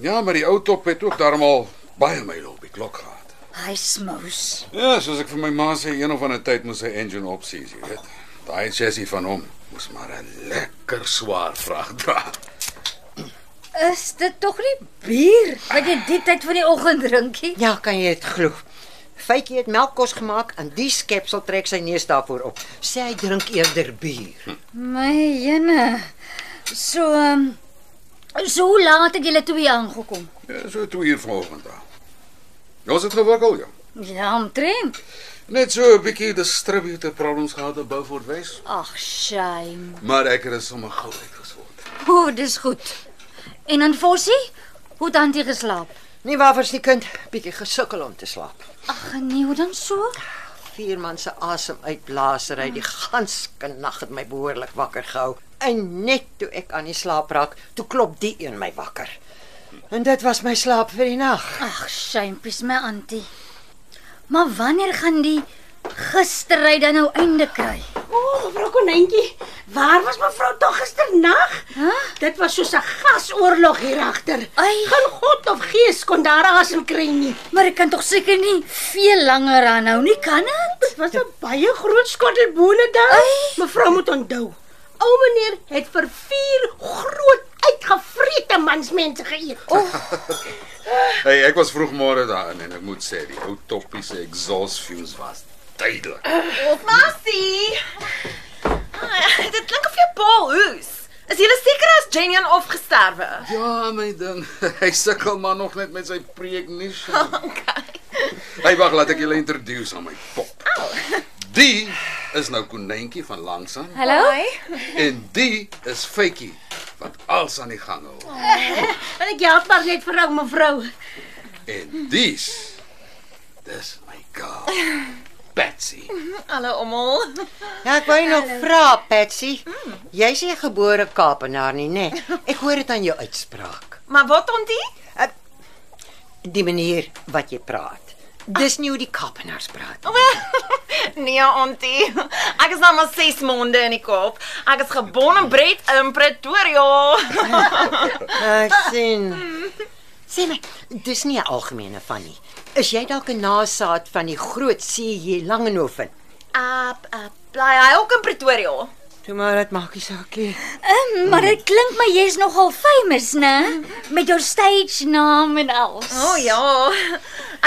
Speaker 1: Ja, maar die ou top het ook daarom al baie myle op die klok gehad.
Speaker 4: Hy smous.
Speaker 1: Ja, soos ek vir my ma sê, een of ander tyd moes sy engine opsies, jy weet. Daai chassis van hom moes maar 'n lekker swaar vrag dra.
Speaker 4: Is dit tog nie bier wat jy die tyd van die oggend drinkie?
Speaker 3: Ja, kan jy dit glo? Faitjie het melkkos gemaak en die skepsel trek sy neus daarvoor op. Sê hy drink eerder bier.
Speaker 4: My jene. So ehm so hoe laat het julle twee aangekom?
Speaker 1: Ja, so 2 uur vanoggend daar. Ons het gewikkel, ja.
Speaker 4: Ja, omtrent.
Speaker 1: Net so 'n bietjie distributor problems gehad op Beaufort Wes,
Speaker 4: Ag, shame.
Speaker 1: maar ek het dit sommer gou uitgeswot.
Speaker 4: O, oh, dis goed. En dan Fossie, hoe dan jy geslaap?
Speaker 3: Nie waarvoor se kind bietjie gesukkel om te slaap.
Speaker 4: Ag nee, hoe dan so?
Speaker 3: Vier man se asem uitblaasery die ganse nag het my behoorlik wakker gehou. En net toe ek aan die slaap raak, toe klop die een my wakker. En dit was my slaap vir die nag.
Speaker 4: Ag, shampies my antie. Maar wanneer gaan die gistery dan nou einde kry?
Speaker 2: O, oh, mevrou Konynkie, waar was mevrou tog gisternag? Huh? Dit was soos 'n gasoorlog hier agter.
Speaker 4: Ai.
Speaker 2: Geen god of gees kon daar asem kry nie.
Speaker 4: Maar ek kan tog seker nie veel langer aanhou nie, kan ek?
Speaker 2: Dit was 'n baie groot skottel bone daar. Mevrou moet onthou. Ou meneer het vir vier groot uitgevrete mansmense sente geëet.
Speaker 6: oh,
Speaker 1: Hey, ek was vroeg môre daarin en ek moet sê die ou toppie se exhaust fumes was duidelik.
Speaker 6: Of Masie. Ah, dit klink of jy paal hoes. Is jy seker as Jenian afgesterwe?
Speaker 1: Ja, my ding. [laughs] Hy sukkel maar nog net met sy pregnition.
Speaker 6: Okay.
Speaker 1: Hey, wag, laat ek julle introduce aan my pop. Die is nou konynetjie van langsaan
Speaker 4: Hallo?
Speaker 1: en die is Faitjie wat als aan die gang hou.
Speaker 2: En ek help maar net vir ou mevrou.
Speaker 1: En dis dis my girl. Betsy.
Speaker 6: Hallo almal.
Speaker 3: Ja, ek wou jou nog vra, Patsy. Jy's nie 'n gebore Kaapenaar nie, né? Nee. Ek hoor dit aan jou uitspraak.
Speaker 6: Maar wat ontie?
Speaker 3: Die manier wat jy praat. Dis nie hoe die Kaapenaars praat. nie.
Speaker 6: Nee, ontie. Ek is nou maar 6 maande in die Kaap. Ek is gebon en bred in Pretoria.
Speaker 3: Nou, Ek sien. Sê my, dis nie 'n algemene van nie. Is jy dalk 'n nasaat van die groot C.J. Langehoven?
Speaker 6: Ap, ap, bly hy ook in Pretoria.
Speaker 3: Toe maar dit maak nie saak nie.
Speaker 4: Um, maar dit klink my jy's nogal famous, né? Met jou stage naam en alles.
Speaker 6: O oh, ja.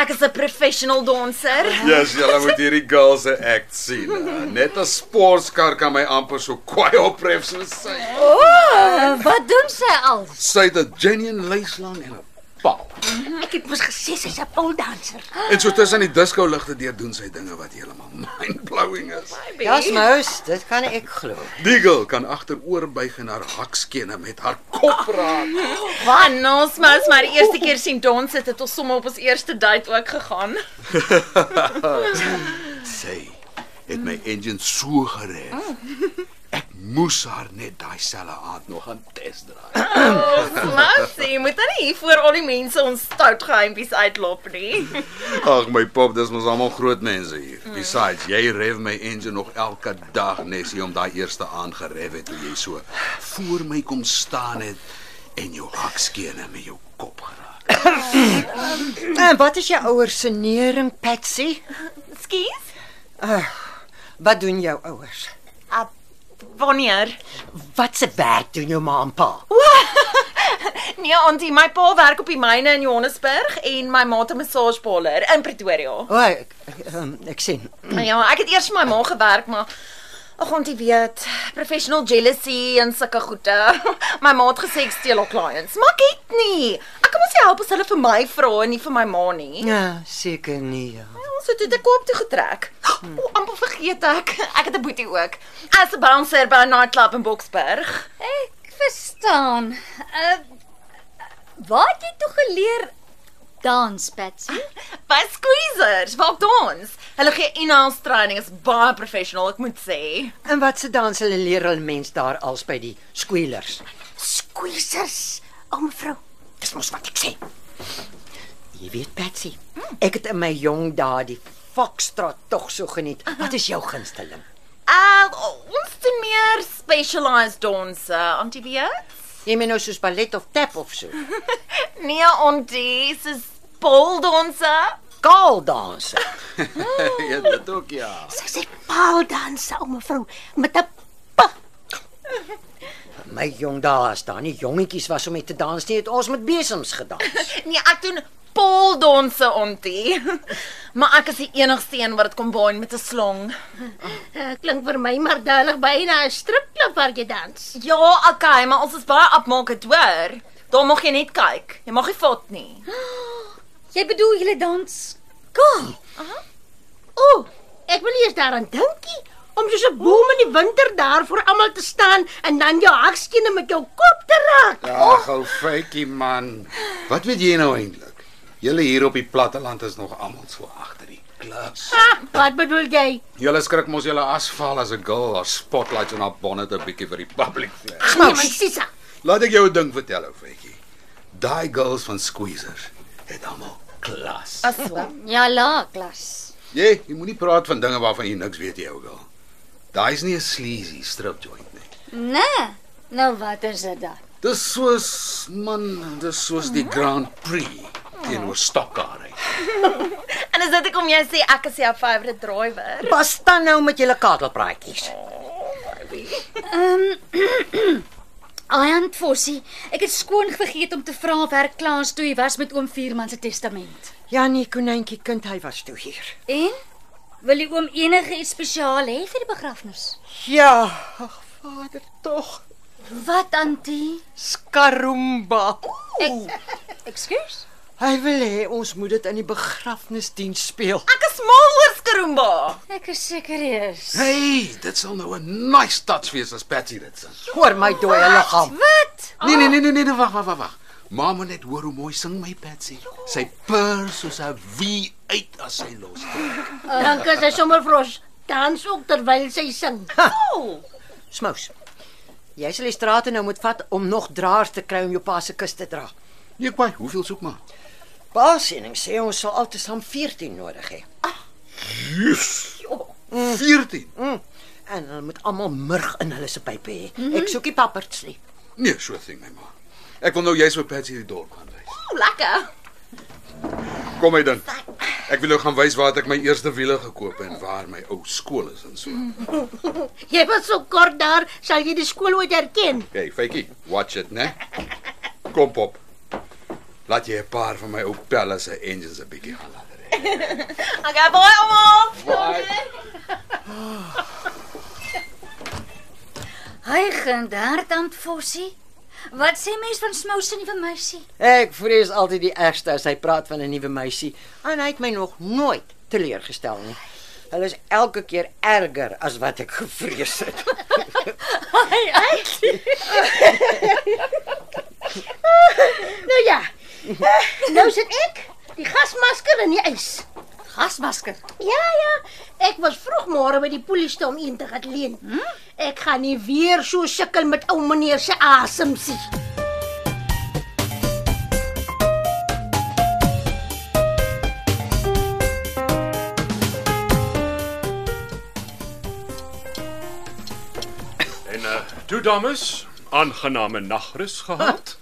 Speaker 6: Ek is 'n professional danser.
Speaker 1: Yes, julle moet hierdie girl se act sien. hè. Net 'n sportkar kan my amper so kwaai opref soos sy.
Speaker 4: Oh, wat doen sy al?
Speaker 1: Sy het 'n genuine leeslang en 'n paal.
Speaker 2: Mhm, Ek het mos gesê sy's 'n poldanser.
Speaker 1: En so tussen die disco ligte deur doen sy dinge wat heeltemal mind-blowing is.
Speaker 3: Dis mos, dit kan ek glo.
Speaker 1: Die girl kan agteroor buig en haar hakskene met haar kop raak.
Speaker 6: Want ons mos Ah, maar die eerste keer sien dans het, het ons sommer op ons eerste date ook [laughs] gegaan.
Speaker 1: Sy het my engine so gereg.
Speaker 2: Oh.
Speaker 1: Ek moes haar net daai selfe aand nog aan test draai.
Speaker 6: Oh, Maar sê, moet dan nie hier voor al die mense ons stout geheimpies uitlop nie.
Speaker 1: Ag my pop, dis mos almal groot mense hier. Besides, jy rev my engine nog elke dag nes jy om daai eerste aand gerev het toe jy so voor my kom staan het en jou hakskene met jou kop geraak.
Speaker 3: En Nou, wat is jou ouers se nering, Patsy?
Speaker 6: Skus?
Speaker 3: Wat doen jou ouers?
Speaker 6: Ab wanneer?
Speaker 3: Wat se werk doen jou ma en pa?
Speaker 6: Nee, auntie, my pa werk op die myne in Johannesburg en my ma het 'n massageparlor in Pretoria.
Speaker 3: O, ek ek, um, ek sien.
Speaker 6: Ja, ek het eers vir my ma gewerk, maar ag auntie weet, professional jealousy en sulke goede. [laughs] My ma het gesê ek steel haar clients, maar ek het nie. Ek kan mos nie help as hulle vir my vra en nie vir my ma nie.
Speaker 3: Ja, seker nie. Ja.
Speaker 6: Ons het dit koop toe getrek. O, amper vergeet ek. Ek het 'n boetie ook. As 'n bouncer by 'n nightclub in Boksburg.
Speaker 4: Ek verstaan. Uh, waar het jy toe geleer dans, Patsy?
Speaker 6: By Squeezers, waar ek dans. Hulle gee in-house training, is baie professional, ek moet sê.
Speaker 3: En wat se dans hulle leer hulle mens daar als by die squealers?
Speaker 2: Squeezers. O mevrou,
Speaker 3: Dis mos wat ek sê. Jy weet Patsy, ek het in my jong dae die Foxtrot tog so geniet. Wat is jou gunsteling?
Speaker 6: Uh ons doen meer specialized danse, Auntie Weet.
Speaker 3: Jy meen nou soos ballet of tap of so.
Speaker 6: Nee, Auntie, dis poldanse.
Speaker 3: Kaal dans.
Speaker 1: ja, dit ook ja.
Speaker 2: sy's 'n poldanser, o mevrou, met 'n p.
Speaker 3: My jong dae as daar nie jongetjies was om mee te dans nie, het ons met besems [laughs] gedans.
Speaker 6: Nee, ek doen poldanse, Auntie. [laughs] Maar ek is die enigste een wat dit combine met 'n slang.
Speaker 2: Uh, klink vir my maar duidelik byna 'n stripklub waar jy dans.
Speaker 6: Ja, okay, maar ons is baie afmaak het hoor. Daar mag jy net kyk. Jy mag nie vat nie.
Speaker 4: Jy bedoel jy dans kaal?
Speaker 2: O, ek Oh, wil nie eens daaraan dinkie om soos 'n boom in die winter daar voor almal te staan en dan jou hakskene met jou kop te raak.
Speaker 1: Ag, ou feitjie man. Wat weet jy nou eintlik? Julle hier op die platteland is nog almal so agter die klas.
Speaker 2: Ah, wat bedoel jy?
Speaker 1: Julle skrik mos julle asval as 'n girl haar spotlights en haar bonnet 'n bietjie vir die public flash.
Speaker 2: Niemand sisa.
Speaker 1: Laat ek jou 'n ding vertel, ou feitjie. Daai girls van Squeezers het almal klas.
Speaker 6: Aso.
Speaker 4: Ja, la, klas.
Speaker 1: Jy, jy moenie praat van dinge waarvan jy niks weet, jy ou girl. Daai is nie 'n sleazy strip joint nie.
Speaker 4: Nee. Nou wat is dit dan?
Speaker 1: Dis soos man, dis soos die Grand Prix teenoor Stokkerheid.
Speaker 6: En is dit ek om jy sê ek is jou favourite driver?
Speaker 3: Pas dan nou met julle kakelpraatjies.
Speaker 4: Aunt Fossie, ek het skoon vergeet om te vra waar Klaas toe hy was met oom Vierman se testament.
Speaker 3: Janie konynkie Ja, nee, kind, hy was toe hier.
Speaker 4: En wil die oom enige iets spesiaal hê vir die begrafnis?
Speaker 3: Ja, ag vader tog.
Speaker 4: Wat antie?
Speaker 3: Skarumba.
Speaker 4: Ekskuus.
Speaker 3: Hy wil hê ons moet dit in die begrafnisdiens speel.
Speaker 6: Ek is mal oor Skarumba.
Speaker 4: Ek is seker eers.
Speaker 1: Hey, dit sal nou 'n nice touch wees as Patsy dit sing.
Speaker 3: Hoor my dooie liggaam.
Speaker 4: Wat?
Speaker 1: Nee nee nee nee nee, nee, wag wag wag wag. Ma moet net hoor hoe mooi sing my Patsy. Sy purr soos 'n wie uit as sy los.
Speaker 2: Dan kan sy sommer vros dans ook terwyl sy sing.
Speaker 3: Smous. Jy sal die strate nou moet vat om nog draers te kry om jou pa se kus te dra.
Speaker 1: Nee, kwai, hoeveel soek maar?
Speaker 3: Pa siening sê ons sal altesaam 14 nodig hê.
Speaker 1: Yes. 14.
Speaker 3: Mm. En hulle moet almal murg in hulle se pype hê. Mm -hmm. Ek soek die papperts nie.
Speaker 1: Nee, so ding my ma. Ek wil nou jy's met Patsy die dorp gaan wys.
Speaker 6: O, lekker.
Speaker 1: Kom hy dan. Ek wil jou gaan wys waar het ek my eerste wiele gekoop en waar my ou skool is en so.
Speaker 2: Jy was so kort daar, sal jy die skool ooit herken.
Speaker 1: Hey, Faitjie, watch it, né? Kom pop. Laat jy 'n paar van my ou pelle se engines 'n bietjie gaan laat ry.
Speaker 6: Okay, baie almal.
Speaker 4: Hy genderd Aunt Fossie. Wat sê mens van smous en die vermeisie?
Speaker 3: Ek vrees altyd die ergste as hy praat van 'n nuwe meisie. En hy het my nog nooit teleurgestel nie. Hulle is elke keer erger as wat ek gevrees het.
Speaker 4: Hy uit.
Speaker 2: Nou ja. nou sit ek, die gasmasker in die ys.
Speaker 4: Gasmasker.
Speaker 2: Ja ja, ek was vroeg môre by die polisie om een te gaan leen. Hm? Ek gaan nie weer so sukkel met ou meneer se asem sien.
Speaker 5: En uh, toe dames, aangename nagrus gehad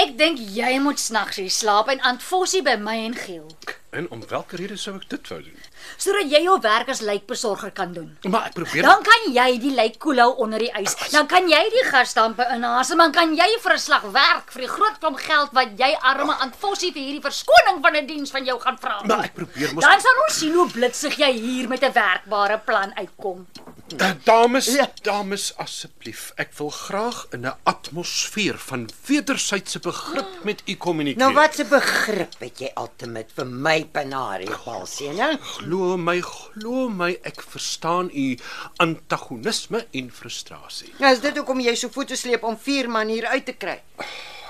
Speaker 4: Ek dink jy moet snags hier slaap en Aunt Fossie by my en Giel,
Speaker 5: en om watter rede sou ek dit wou doen?
Speaker 4: sodat jy jou werk as lijkbesorger kan doen.
Speaker 5: Maar ek probeer
Speaker 4: Dan kan jy die lijk koelhou onder die ys. Dan kan jy die gasdampe inhaas en dan kan jy vir 'n slag werk vir die groot klomp geld wat jy arme Aunt Fossie vir hierdie verskoning van 'n die diens van jou gaan vra.
Speaker 5: Maar ek probeer mos
Speaker 4: Dan sal ons sien hoe blitsig jy hier met 'n werkbare plan uitkom.
Speaker 5: Eh, Dames, ja.
Speaker 3: Ja.
Speaker 5: dames asseblief, ek wil graag in 'n atmosfeer van wederwysige begrip met u kommunikeer.
Speaker 3: nou wat 'n begrip het jy altyd vir my penarie palsiening?
Speaker 5: Glo my, glo my, ek verstaan u antagonisme en frustrasie.
Speaker 3: Nou is dit hoekom jy so voete sleep om vier man hier uit te kry.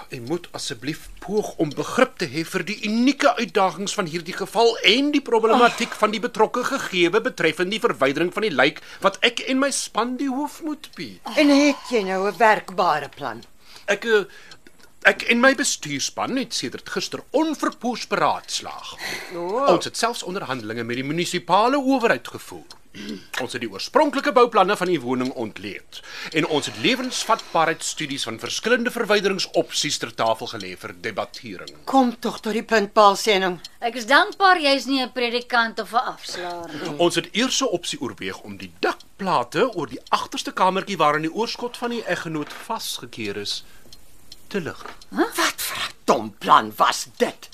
Speaker 5: U moet asseblief poog om begrip te hê vir die unieke uitdagings van hierdie geval en die problematiek oh. van die betrokke gegewe betreffende die verwydering van die lijk wat ek en my span die hoof moet bied.
Speaker 3: En het jy nou 'n werkbare plan?
Speaker 5: Ek eh, ek en my bestuurspan het sedert gister onverpoos beraadslaag. Oh. Ons het selfs onderhandelinge met die munisipale owerheid gevoer. Ons het die oorspronklike bouplanne van die woning ontleed en ons het lewensvatbaarheidstudies van verskillende verwyderingsopsies ter tafel gelê vir debattering.
Speaker 3: Kom tog tot die punt palsiening.
Speaker 4: Ek is dankbaar jy's nie 'n predikant of 'n afslaer nie.
Speaker 5: Ons het eers 'n opsie oorweeg om die dakplate oor die agterste kamertjie waarin die oorskot van die eggenoot vasgekeer is te lig.
Speaker 3: Wat vir 'n dom plan was dit?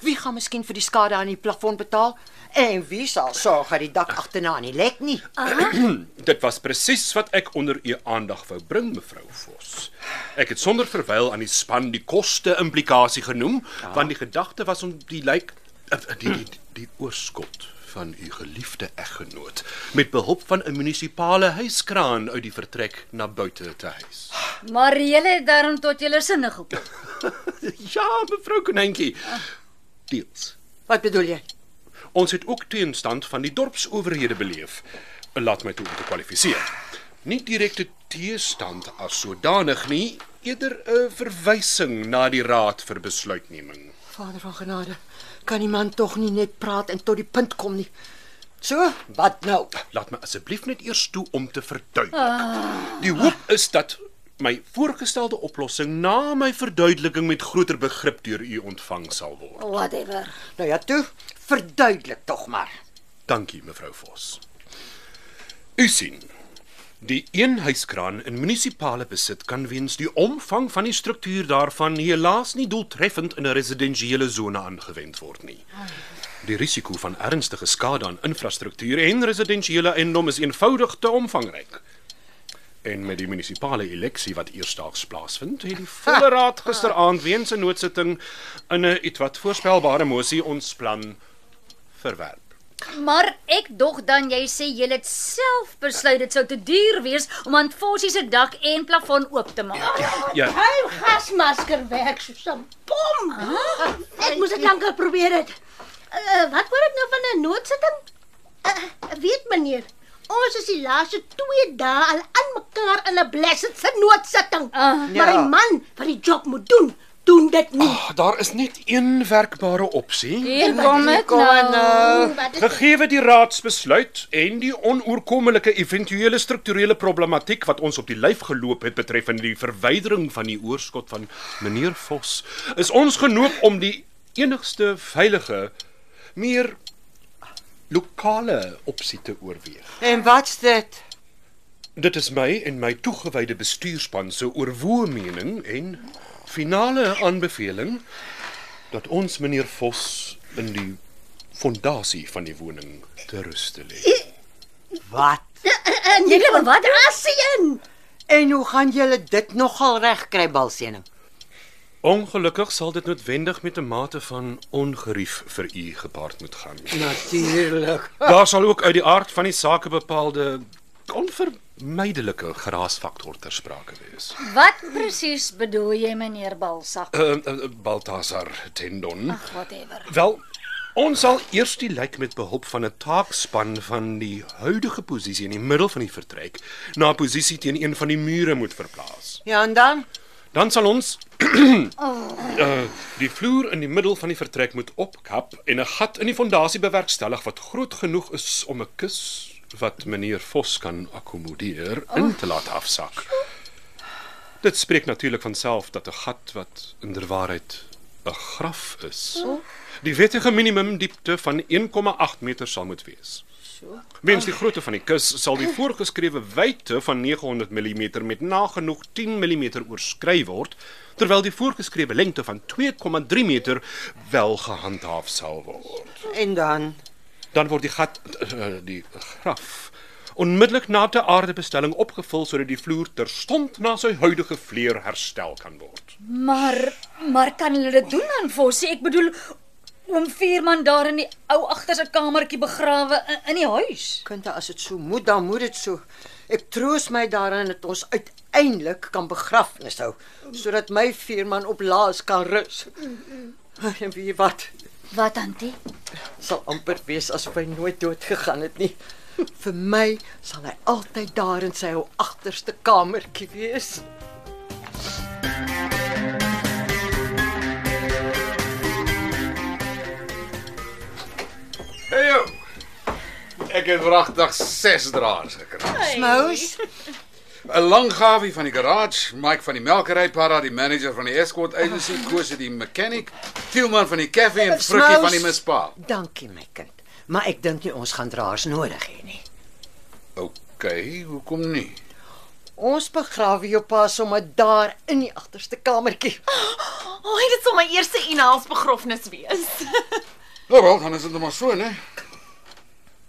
Speaker 3: Wie gaan miskien vir die skade aan die plafon betaal? En wie sal sorg dat die dak agterna nie lek nie?
Speaker 5: [clears throat] Dit was presies wat ek onder u aandag wou bring, mevrou Vos. Ek het sonder verwyl aan die span die koste implikasie genoem, ja. want die gedagte was om die lijk eh, die die, die, die oorskot van u geliefde eggenoot met behulp van 'n munisipale huiskraan uit die vertrek na buite te hys.
Speaker 4: Maar jy het daarom tot jou sinne gekom.
Speaker 5: [laughs] Ja, mevrou Konynkie. Deels.
Speaker 3: Wat bedoel jy?
Speaker 5: Ons het ook teenstand van die dorpsowerhede beleef. Laat my toe om te kwalifiseer. Nie direkte teenstand as sodanig nie, eerder 'n verwysing na die raad vir besluitneming.
Speaker 3: Vader van genade, kan iemand tog nie net praat en tot die punt kom nie. So, wat nou?
Speaker 5: Laat my asseblief net eers toe om te verduidelik. Die hoop is dat my voorgestelde oplossing na my verduideliking met groter begrip deur u ontvang sal word.
Speaker 4: Oh, Whatever.
Speaker 3: Nou ja, toe, verduidelik tog maar.
Speaker 5: Dankie mevrou Vos. U sien, Die een huiskraan in munisipale besit kan weens die omvang van die struktuur daarvan helaas nie doeltreffend in 'n residensiële sone aangewend word nie. Die risiko van ernstige skade aan infrastruktuur en residensiële eiendom is eenvoudig te omvangryk. En met die munisipale eleksie wat eersdaags plaasvind, het die volle raad gisteraand weens 'n noodsitting in 'n ietwat voorspelbare mosie ons plan verwerp.
Speaker 4: Maar ek dog dan jy sê jy het self besluit dit sou te duur wees om aan Fossie se dak en plafon oop te maak.
Speaker 5: Ja,
Speaker 2: Hy gasmasker werk soos 'n bom. Ek moes dit lankal probeer het. Uh, wat word ek nou van 'n noodsitting? Uh, weet meneer, ons is die laaste 2 dae al aan mekaar in 'n blessed se noodsitting.
Speaker 4: Ah.
Speaker 2: Maar die man wat die job moet doen, doen dit nie.
Speaker 5: Ag, daar is net een werkbare opsie.
Speaker 4: Hier kom dit nou.
Speaker 2: Oh, wat is
Speaker 5: Gegee die raadsbesluit en die onoorkomelike eventuele strukturele problematiek wat ons op die lyf geloop het betreffende die verwydering van die oorskot van meneer Vos, is ons genoop om die enigste veilige meer lokale opsie te oorweeg.
Speaker 3: En wat's dit?
Speaker 5: Dit is my en my toegewyde bestuurspan se oorwoe mening en finale aanbeveling dat ons meneer Vos in die fondasie van die woning te ruste lê.
Speaker 3: Wat?
Speaker 2: en jy lê wat asien?
Speaker 3: En hoe gaan julle dit nogal regkry, Balsening?
Speaker 5: Ongelukkig sal dit noodwendig met 'n mate van ongerief vir u gepaard moet gaan.
Speaker 3: Natuurlik.
Speaker 5: Daar sal ook uit die aard van die saak 'n bepaalde onvermydelike geraasfaktor ter sprake wees.
Speaker 4: Wat presies bedoel jy meneer Balsak?
Speaker 5: Ehm uh, uh, Baltasar Tendon.
Speaker 4: Ag whatever.
Speaker 5: Wel, ons sal eers die lijk met behulp van 'n taakspan van die huidige posisie in die middel van die vertrek na 'n posisie teen een van die mure moet verplaas.
Speaker 3: Ja, en dan?
Speaker 5: Dan sal ons [clears throat] uh, die vloer in die middel van die vertrek moet opkap en 'n gat in die fondasie bewerkstellig wat groot genoeg is om 'n kus wat meneer Vos kan akkommodeer in te laat afsak. Dit spreek natuurlik vanself dat 'n gat wat inderwaarheid 'n graf is, die wettige minimum diepte van 1,8 meter sal moet wees. Weens die grootte van die kus sal die voorgeskrewe wyte van 900 mm met nagenoeg 10 mm oorskry word, terwyl die voorgeskrewe lengte van 2,3 meter wel gehandhaaf sal word.
Speaker 3: En dan?
Speaker 5: Dan word die gat eh, die graf onmiddellik na te aardebestelling opgevul sodat die vloer terstond na sy huidige vleur herstel kan word.
Speaker 4: Maar maar kan hulle dit doen aan Fossie? Ek bedoel om Vierman daar in die ou agterse kamertjie begrawe in, in die huis.
Speaker 3: Kunde as dit so moet, dan moet dit so. Ek troos my daarin dat ons uiteindelik kan begrafnis hou sodat my vierman op laas kan rus. mm. En wie wat
Speaker 4: Wat antie?
Speaker 3: sal amper wees asof hy nooit dood gegaan het nie. Vir my sal hy altyd daar in sy ou agterste kamertjie wees.
Speaker 1: Hey jou. Ek het wragtig 6 draers gekry.
Speaker 3: Smous,
Speaker 1: 'n Lang gawie van die garage, Mike van die melkery, Para die manager van die escort agency, Koos die mechanic, Tielman van die koffie en Frikkie
Speaker 3: Smous.
Speaker 1: van die mispa.
Speaker 3: dankie my kind, maar ek dink nie ons gaan draers nodig hê nie.
Speaker 1: OK, hoekom nie?
Speaker 3: Ons begrawe jou pa sommer daar in die agterste kamertjie.
Speaker 6: O, oh, dit sal my eerste inhels begrafnis wees.
Speaker 1: Nou wel, dan is dit nou maar so, né?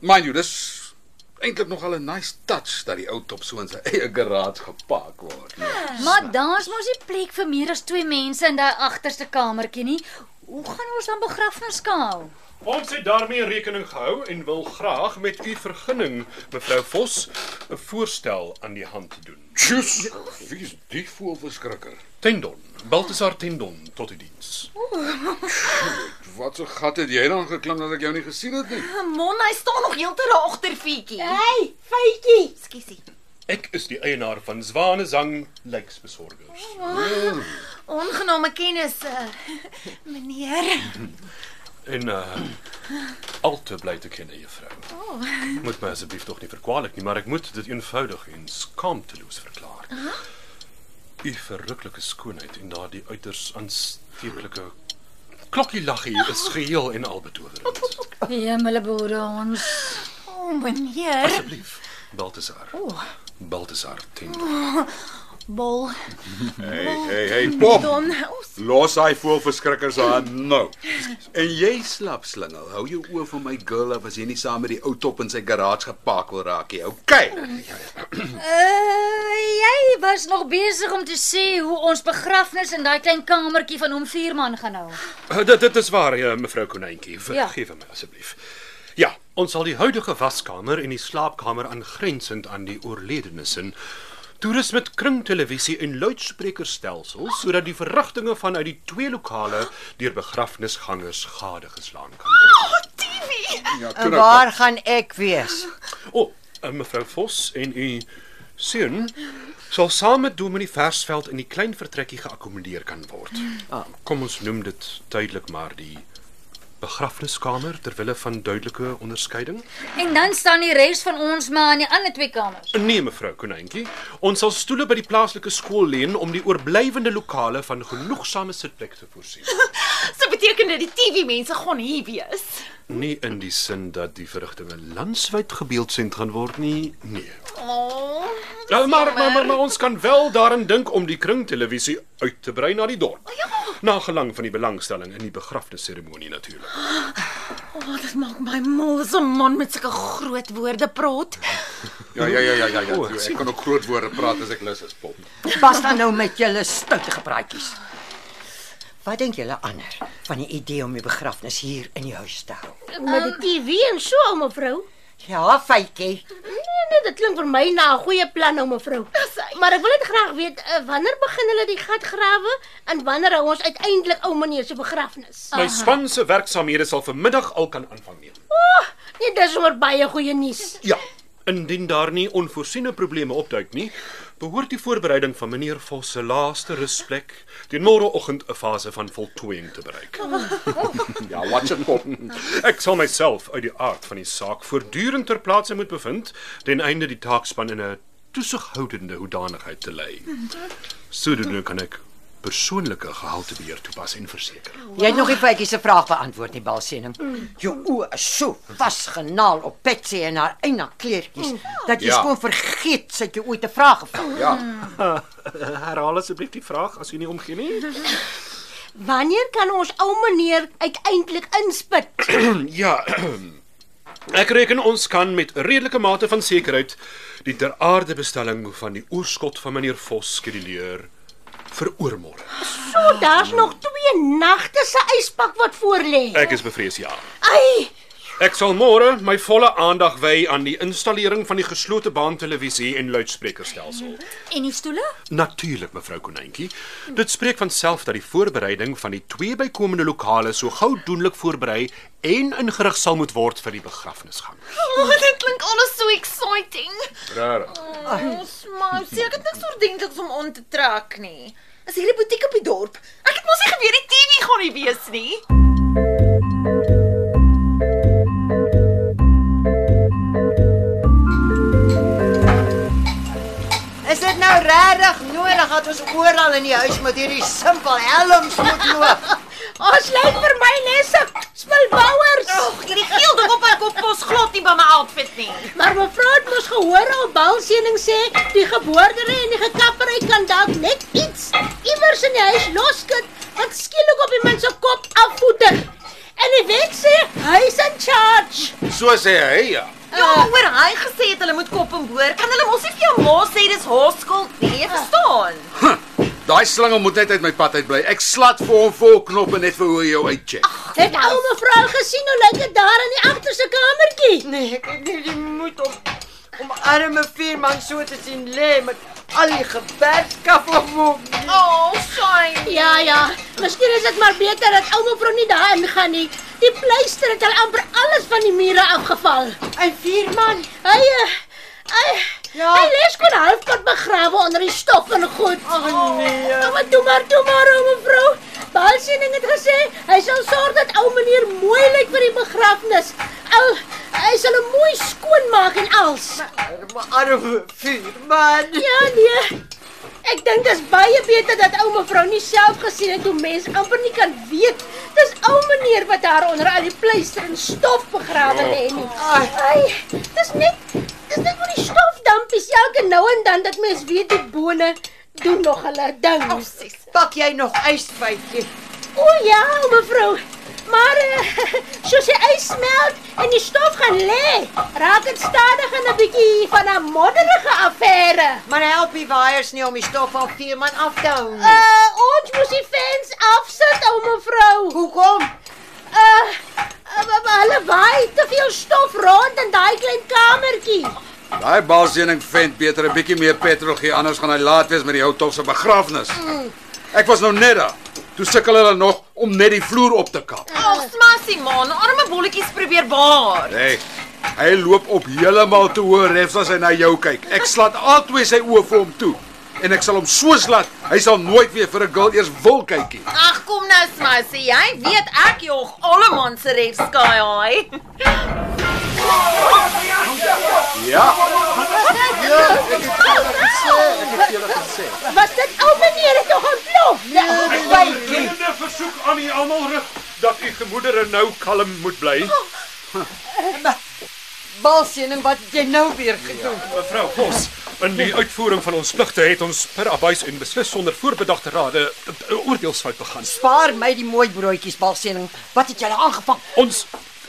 Speaker 1: Mind you, dis eintlik nogal 'n nice touch dat die ou top so in sy eie garage gepak word. né?
Speaker 4: Maar daar's mos nie plek vir meer as 2 mense in daai agterste kamertjie nie. Hoe gaan ons dan begrafnis skaal?
Speaker 5: Ons het daarmee rekening gehou en wil graag met u vergunning, mevrou Vos, 'n voorstel aan die hand doen.
Speaker 1: Tjus. Wie is die voel verskrikker?
Speaker 5: Tendon, Baltasar Tendon tot u diens.
Speaker 1: Wat so gat het jy dan geklim dat ek jou nie gesien het nie?
Speaker 6: Man, hy staan nog heeltemal daar agter fietjie.
Speaker 2: Hey, feitjie.
Speaker 6: Ekskuusie.
Speaker 5: Ek is die eienaar van Zwanezang Lyksbesorgers.
Speaker 6: Ongename kennis, eh, [laughs] meneer.
Speaker 5: En uh al te bly te ken juffrou. Oh. Moet my asseblief tog nie verkwalik nie, maar ek moet dit eenvoudig en skaamteloos verklaar. Huh? U verruklike skoonheid en daardie uiters aansteeklike klokkielaggie is geheel en al betowerend.
Speaker 4: Hemele boere ons.
Speaker 6: O, oh, meneer.
Speaker 5: Asseblief, Baltasar. Oh. Baltasar ten.
Speaker 6: Bol.
Speaker 1: Hey, hey, hey, pop.
Speaker 6: Don, ons
Speaker 1: Los hy voor verskrikker se hand nou. En jy slap slingel. Hou jou oë vir my girl af as jy nie saam met die ou top in sy garage gepak wil raak nie. Okay.
Speaker 4: Uh, jy was nog besig om te sê hoe ons begrafnis in daai klein kamertjie van hom vierman gaan hou.
Speaker 5: Uh, dit dit is waar, uh, mevrou Konyntjie.
Speaker 4: Ja.
Speaker 5: Vergewe my asseblief. Ja, ons sal die huidige waskamer en die slaapkamer aangrensend aan die oorledenes in toerus met kringtelevisie en luidsprekerstelsels sodat die verrigtinge vanuit die twee lokale deur begrafnisgangers gadegeslaan kan word.
Speaker 1: Ja,
Speaker 3: En waar gaan ek wees?
Speaker 5: O, oh, uh, mevrou Vos en u seun sal saam met Dominee Versveld in die klein vertrekkie geakkommodeer kan word. Kom ons noem dit duidelik maar die begrafniskamer ter wille van duidelike onderskeiding.
Speaker 4: En dan staan die res van ons maar in die ander twee kamers.
Speaker 5: Nee mevrou Konyntjie, ons sal stoele by die plaaslike skool leen om die oorblywende lokale van genoegsame sitplek te voorsien.
Speaker 6: so beteken dit die TV mense gaan hier wees.
Speaker 5: Nie in die sin dat die verrigtinge landwyd gebeeldsend gaan word nie. Nee.
Speaker 6: Oh,
Speaker 5: Ja, maar, maar, maar, maar ons kan wel daarin dink om die kringtelevisie uit te brei na die dorp. Ja. Na gelang van die belangstelling in die begrafnisseremonie natuurlik.
Speaker 6: oh, dit maak my mal as 'n man met sulke groot woorde praat.
Speaker 1: ja, ja, ja, ja, ja. ja.
Speaker 5: O,
Speaker 1: ek
Speaker 5: sien.
Speaker 1: kan ook groot woorde praat as ek lus is, pop.
Speaker 3: Pas dan nou met julle stoute gepraatjies. Wat dink julle ander van die idee om die begrafnis hier in die huis te hou?
Speaker 2: Met die TV en so, ou mevrou.
Speaker 3: Ja, feitjie.
Speaker 2: Nee, nee, dit klink vir my na 'n goeie plan, ou mevrou. Maar ek wil net graag weet eh, wanneer begin hulle die gat grawe en wanneer hou ons uiteindelik ou meneer se begrafnis?
Speaker 5: My span se werksaamhede sal vanmiddag al kan aanvang neem.
Speaker 2: Nee, dis sommer baie goeie nuus.
Speaker 5: Ja, indien daar nie onvoorsiene probleme opduik nie, behoort die voorbereiding van meneer Vos se laaste rusplek teen môreoggend 'n fase van voltooiing te bereik.
Speaker 1: Ja, watch it, pop.
Speaker 5: Ek sal myself uit die aard van die saak voortdurend ter plaatse moet bevind ten einde die taakspan in 'n toesighoudende hoedanigheid te lei. Sodoende kan ek persoonlike gehaltebeheer toepas en verseker.
Speaker 3: Jy het nog nie feitjie se vraag beantwoord nie, Balsening. Jou oë is so vasgenaal op Betsy en haar eie kleertjies dat jy
Speaker 1: Ja.
Speaker 3: skoon vergeet sy het jou ooit 'n vraag gevra.
Speaker 1: Ja.
Speaker 5: Herhaal asseblief die vraag as u nie omgee nie.
Speaker 2: Wanneer kan ons ou meneer uiteindelik inspit?
Speaker 5: Ja. [clears throat] Ek reken ons kan met 'n redelike mate van sekerheid die ter aarde bestelling van die oorskot van meneer Vos skeduleer vir oormôre.
Speaker 2: So, daar's nog twee nagte se yspak wat voor lê.
Speaker 5: Ek is bevrees ja.
Speaker 2: Ai,
Speaker 5: Ek sal môre my volle aandag wy aan die installering van die geslote baan televisie en luidsprekerstelsel.
Speaker 4: En die stoele?
Speaker 5: Natuurlik mevrou Konyntjie. Dit spreek van self dat die voorbereiding van die twee bykomende lokale so gou doenlik voorberei en ingerig sal moet word vir die begrafnisgang.
Speaker 6: Oh, dit klink alles so exciting.
Speaker 5: Regtig.
Speaker 6: Ons maar seker niks ordentliks om aan te trek nie. Is hierdie butiek op die dorp? Ek het mos nie geweet die TV gaan hier wees nie.
Speaker 3: Is dit nou regtig nodig dat ons oral in die huis met hierdie simpel helms moet loop?
Speaker 2: ons lyk vir my nesse spilbouers.
Speaker 6: Ag, hierdie geel ding op my kop pas glad nie by my outfit nie.
Speaker 2: Maar mevrou het mos gehoor al balsening sê die geboordery en die gekappery kan dalk net iets iewers in die huis loskit wat skielik op iemand se kop afvoeter. En die wet sê hy is in charge.
Speaker 1: So sê hy, ja.
Speaker 6: Ja, maar hoor, hy gesê het hulle moet kop en boor. Kan hulle mos nie vir jou ma sê dis haar skuld nie, jy verstaan?
Speaker 1: Daai slingel moet net uit my pad uitbly. Ek slat vir hom vol knoppe net vir hoe hy jou uitcheck.
Speaker 2: Het ou mevrou al gesien hoe lyk dit daar in die agterste kamertjie?
Speaker 3: [laughs] Nee, ek het nie die moed om om arme vierman so te sien lê met al die gebergskap op hom. nie.
Speaker 6: Oh, shame.
Speaker 2: Ja ja, miskien is dit maar beter dat ou mevrou nie daar ingaan nie. Die pleister het al amper alles van die mure afgeval.
Speaker 3: En vierman,
Speaker 2: Hy eh, hy
Speaker 3: Ja.
Speaker 2: Hy lê skoon halfpad begrawe onder die stof en goed.
Speaker 3: Ag, nee.
Speaker 2: Nou maar toe maar toe maar ou mevrou. Balsiening het gesê hy sal sorg dat ou meneer mooi lyk vir die begrafnis. Al hy sal hom mooi skoon maak en als.
Speaker 3: arme arme vierman.
Speaker 2: Ja nee. Ek dink dis baie beter dat ou mevrou nie self gesien het hoe mens amper nie kan weet dis ou meneer wat haar onder al die pleister en stof begrawe lê nie. Ai, dis net dis net van die stofdampie is elke nou en dan dat mens weet die bone doen nog hulle ding.
Speaker 3: Oh, sis. Pak jy nog ysbytjie?
Speaker 2: O ja, mevrou. Maar uh, [laughs] soos die ys smelt en die stof gaan lê, raak dit stadig en 'n bietjie van 'n modderige affære.
Speaker 3: Maar help die waaiers nie om die stof van Veerman af te hou nie.
Speaker 2: Uh, ons moes die fans afsit, ou mevrou.
Speaker 3: Hoekom?
Speaker 2: Uh, uh, hulle waai te veel stof rond in daai klein kamertjie.
Speaker 1: Daai balsening vent beter 'n bietjie meer petrol gee anders gaan hy laat wees met die houtog se begrafnis. Ek was nou net daar. Toe sukkel hulle nog om net die vloer op te kap.
Speaker 6: Ag, smassie man, arme bolletjies probeer baar.
Speaker 1: Nee. Hy loop op heeltemal te hoë refs as hy na jou kyk. Ek slaat altyd sy oë vir hom toe en ek sal hom so slaat. Hy sal nooit weer vir 'n girl eers wil kykie.
Speaker 6: Ag kom nou smassie, jy weet ek jog alleman se ref skaai haai.
Speaker 1: Ja. Ja, ek het julle gesê, ek het julle gesê.
Speaker 2: Was dit ou meneer het nog ontplof? Nee,
Speaker 5: Vriende versoek aan u almal rig dat u gemoedere nou kalm moet bly.
Speaker 3: Balsening wat het jy nou weer gedoen?
Speaker 5: Mevrou Bos, in die uitvoering van ons pligte het ons per abuis en beslis sonder voorbedagte rade 'n oordeelsfout begaan.
Speaker 3: Spaar my die mooi broodjies balsening. Wat het jy nou aangevang?
Speaker 5: Ons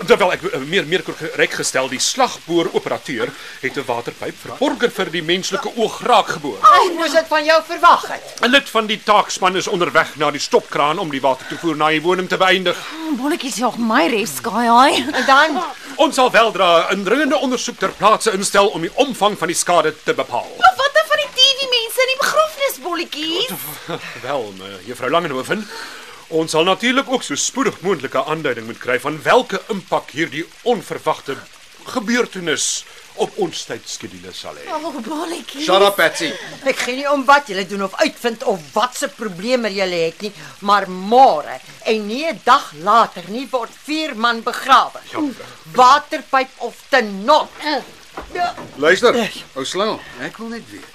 Speaker 5: terwyl ek eh, meer meer korrek gestel die slagboor operateur het 'n waterpyp verborger vir die menslike oog raak geboor.
Speaker 3: Ek moes dit van jou verwag het.
Speaker 5: 'n Lid van die taakspan is onderweg na die stopkraan om die watertoevoer na die woning te beëindig.
Speaker 6: Bolletjies jog my ref skaai haai.
Speaker 3: En dan
Speaker 5: Ons sal weldra 'n dringende ondersoek ter plaatse instel om die omvang van die skade te bepaal.
Speaker 6: Watter van die TV mense in die begrafnis bolletjies?
Speaker 5: Wel, me- juffrou Langehoven, ons sal natuurlik ook so spoedig moontlik 'n aanduiding moet kry van watter impak hierdie onverwagte gebeurtenis op ons tydskedule sal hê.
Speaker 6: Oh, bolletjies.
Speaker 1: Shut up, Patsy.
Speaker 3: ek gee nie om wat jy doen of uitvind of watse probleme jy het nie, maar môre en nie 'n dag later nie word vier man begrawe. Waterpyp of tenot.
Speaker 1: Luister, ou slingel, ek wil net weet.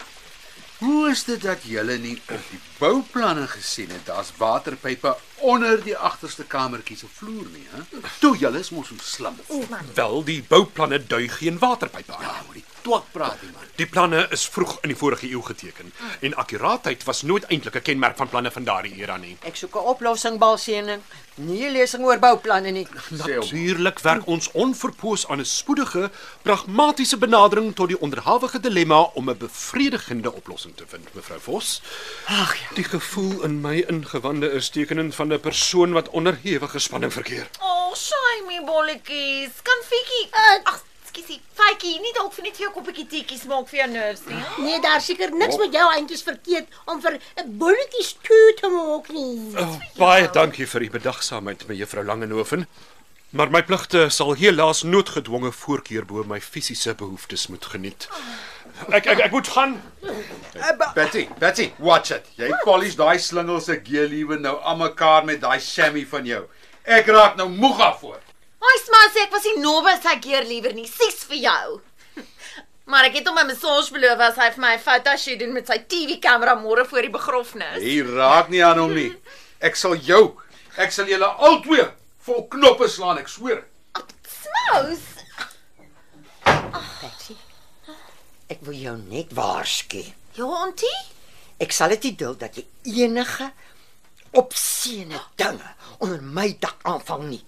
Speaker 1: Hoe is dit dat julle nie op die bouplanne gesien het daar's waterpype onder die agterste kamertjie se vloer nie, hè? Toe julle is mos so slim.
Speaker 5: Wel, die bouplanne dui geen waterpype aan.
Speaker 1: Ja, moet die twak praat nie, man.
Speaker 5: Die planne is vroeg in die vorige eeu geteken
Speaker 1: Hm.
Speaker 5: en akkuraatheid was nooit eintlik 'n kenmerk van planne van daardie era nie.
Speaker 3: Ek soek 'n oplossing balsening, nie 'n lesing oor bouplanne nie.
Speaker 1: Sê hom.
Speaker 5: Natuurlik werk ons onverpoos aan 'n spoedige, pragmatiese benadering tot die onderhawige dilemma om 'n bevredigende oplossing te vind, mevrou Vos. Ag, ja. die gevoel in my ingewande is tekenend van 'n persoon wat onder hewige spanning verkeer.
Speaker 6: Oh, shame bolletjies. Kan Fietjie, ag, skusie, Fietjie, nie dalk vir net vir jou koppietjie teetjies maak vir jou nerves nie.
Speaker 2: nee daar seker niks met jou eintjies verkeerd om vir 'n bulletjie stoot te maak nie.
Speaker 5: Oh, baie dankie vir u bedagsaamheid, mevrou Langehoven. Maar my pligte sal helaas noodgedwonge voorkeur bo my fisiese behoeftes moet geniet. Ek ek ek moet gaan.
Speaker 1: Patsy, Patsy, watch it. Jy polish daai slingel se geeliewe nou aan mekaar met daai shammy van jou. Ek raak nou moeg daarvoor.
Speaker 6: Haai smasie, ek was nie naby sy keer liewer nie. Sies vir jou. [laughs] Maar ek het hom 'n massage beloof as hy vir my 'n fotoshoot doen met sy TV-kamera môre voor die begrafnis.
Speaker 1: Jy raak nie aan hom nie. Ek sal jou, ek sal julle albei vol knoppe slaan, ek sweer.
Speaker 6: Smous.
Speaker 3: Ek wil jou net waarsku.
Speaker 6: Ja, auntie.
Speaker 3: Ek sal dit nie duld dat jy enige opseene dinge onder my dak aanvang nie.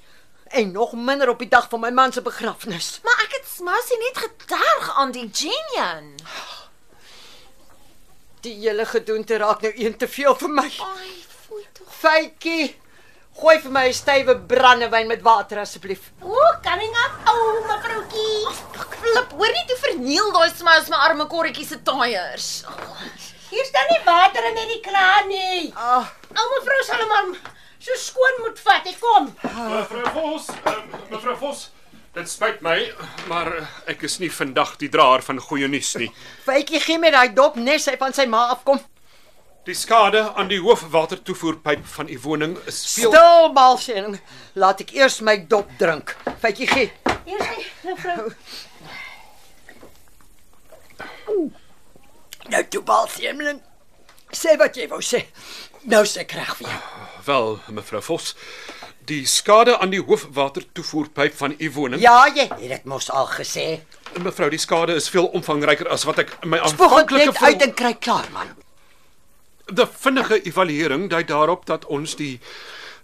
Speaker 3: En nog minder op die dag van my man se begrafnis.
Speaker 6: Maar ek het smasie net geterg aan die genien.
Speaker 3: Die hele gedoente raak nou een te veel vir my.
Speaker 6: Ai, foei tog.
Speaker 3: Fytjie, gooi vir my 'n stywe brandewyn met water asseblief.
Speaker 2: O, coming up, ou mevroutjie.
Speaker 6: Flip, hoor nie toe verniel daai smous my arme korretjie se tyres.
Speaker 2: Hier staan nie water in hierdie kraan nie.
Speaker 3: Ah,
Speaker 2: Ou mevrou sal hom al so skoon moet vat. Ek kom.
Speaker 5: Mevrou Vos, ehm, mevrou Vos, dit spyt my, maar eh, ek is nie vandag die draer van goeie nuus nie.
Speaker 3: Fytjie gee my daai dop nes hy van sy ma afkom.
Speaker 5: Die skade aan die hoofwatertoevoerpyp van u woning is veel
Speaker 3: Stil balsing. Laat ek eers my dop drink. Fytjie gee.
Speaker 2: Hier is die mevrou.
Speaker 3: Nou toe balsing. Sê wat jy wou sê. Nou se krag vir jou.
Speaker 5: wel, mevrou Vos. Die skade aan die hoofwatertoevoerpyp van u woning
Speaker 3: Ja, jy het dit mos al gesê.
Speaker 5: Mevrou, die skade is veel omvangryker as wat ek in my
Speaker 3: Spoeg dit
Speaker 5: aanvanklike
Speaker 3: net uit en kry klaar man.
Speaker 5: Die vinnige evaluering dui daarop dat ons die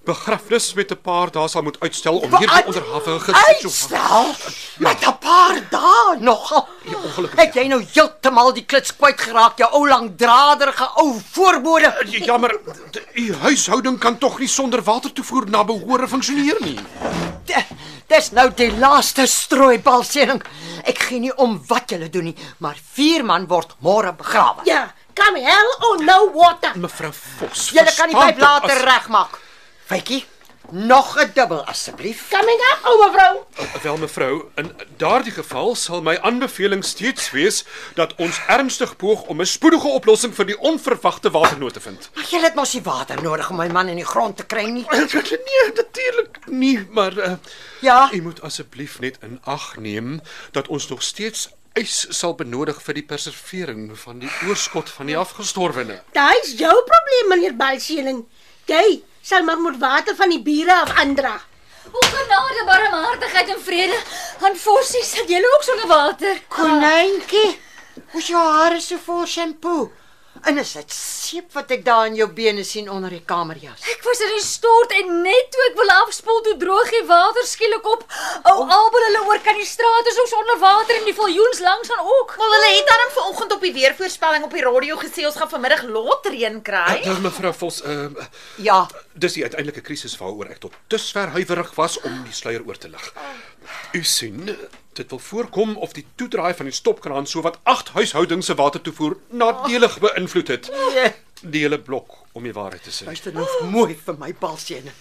Speaker 5: begrafnis met 'n paar dae sal moet uitstel om hierdie onderhawige situasie.
Speaker 3: Uitstel. Met 'n paar dae nog.
Speaker 5: Ja. ongelukkig, ja.
Speaker 3: Het jy nou heeltemal die klits kwyt geraak, jou ou langdraderige ou
Speaker 5: Ja,
Speaker 3: voorbode.
Speaker 5: Jammer, d- u huishouding kan tog nie sonder watertoevoer na behore funksioneer nie.
Speaker 3: D- Dis nou die laaste strooibalsening. Ek gee nie om wat julle doen nie, maar vier man word môre begrawe.
Speaker 2: Ja, come hell or no water.
Speaker 5: Mevrou Vos.
Speaker 3: Julle kan die
Speaker 5: verstaan
Speaker 3: pyp
Speaker 5: tog
Speaker 3: later
Speaker 5: as-
Speaker 3: regmaak. Faitjie, nog 'n dubbel asseblief.
Speaker 2: Coming up, ou mevrou.
Speaker 5: Eh, Wel mevrou, in daardie geval sal my aanbeveling steeds wees dat ons ernstig poog om 'n spoedige oplossing vir die onverwagte waternood te vind.
Speaker 3: Maar julle het mos nie water nodig om my man in die grond te kry nie.
Speaker 5: [clears throat] Nee, natuurlik nie, maar uh,
Speaker 3: Ja.
Speaker 5: u moet asseblief net in ag neem dat ons nog steeds ys sal benodig vir die preservering van die oorskot van die afgestorwene.
Speaker 2: Daai is jou probleem, meneer Balsieling. Jy sal maar moet water van die bure af aandra.
Speaker 4: O genade, barmhartigheid en vrede. Aan Forsie sit julle ook sonder water.
Speaker 3: Konyntjie, hoe jou hare so vol shampoo. En is dit seep wat ek daar in jou bene sien onder die kamerjas?
Speaker 4: Ek was in die stort en net toe ek wil afspoel, toe droog die water skielik op. Ou Abel hulle oor kan die straat is ons onder water en die viljoens langs aan ook.
Speaker 6: Maar hulle het dan vanoggend op die weervoorspelling op die radio gesê ons gaan vanmiddag laat reën kry.
Speaker 5: Nou mevrou Vos, uh,
Speaker 3: Ja,
Speaker 5: dis die uiteindelike krisis waaroor ek tot dusver huiwerig was om die sluier oor te lig. U sien, dit wil voorkom of die toedraai van die stopkraan sowat agt huishoudings se watertoevoer nadelig beïnvloed het.
Speaker 3: nee.
Speaker 5: Die hele blok om die waarheid te sê.
Speaker 3: luister nou mooi vir my balsene.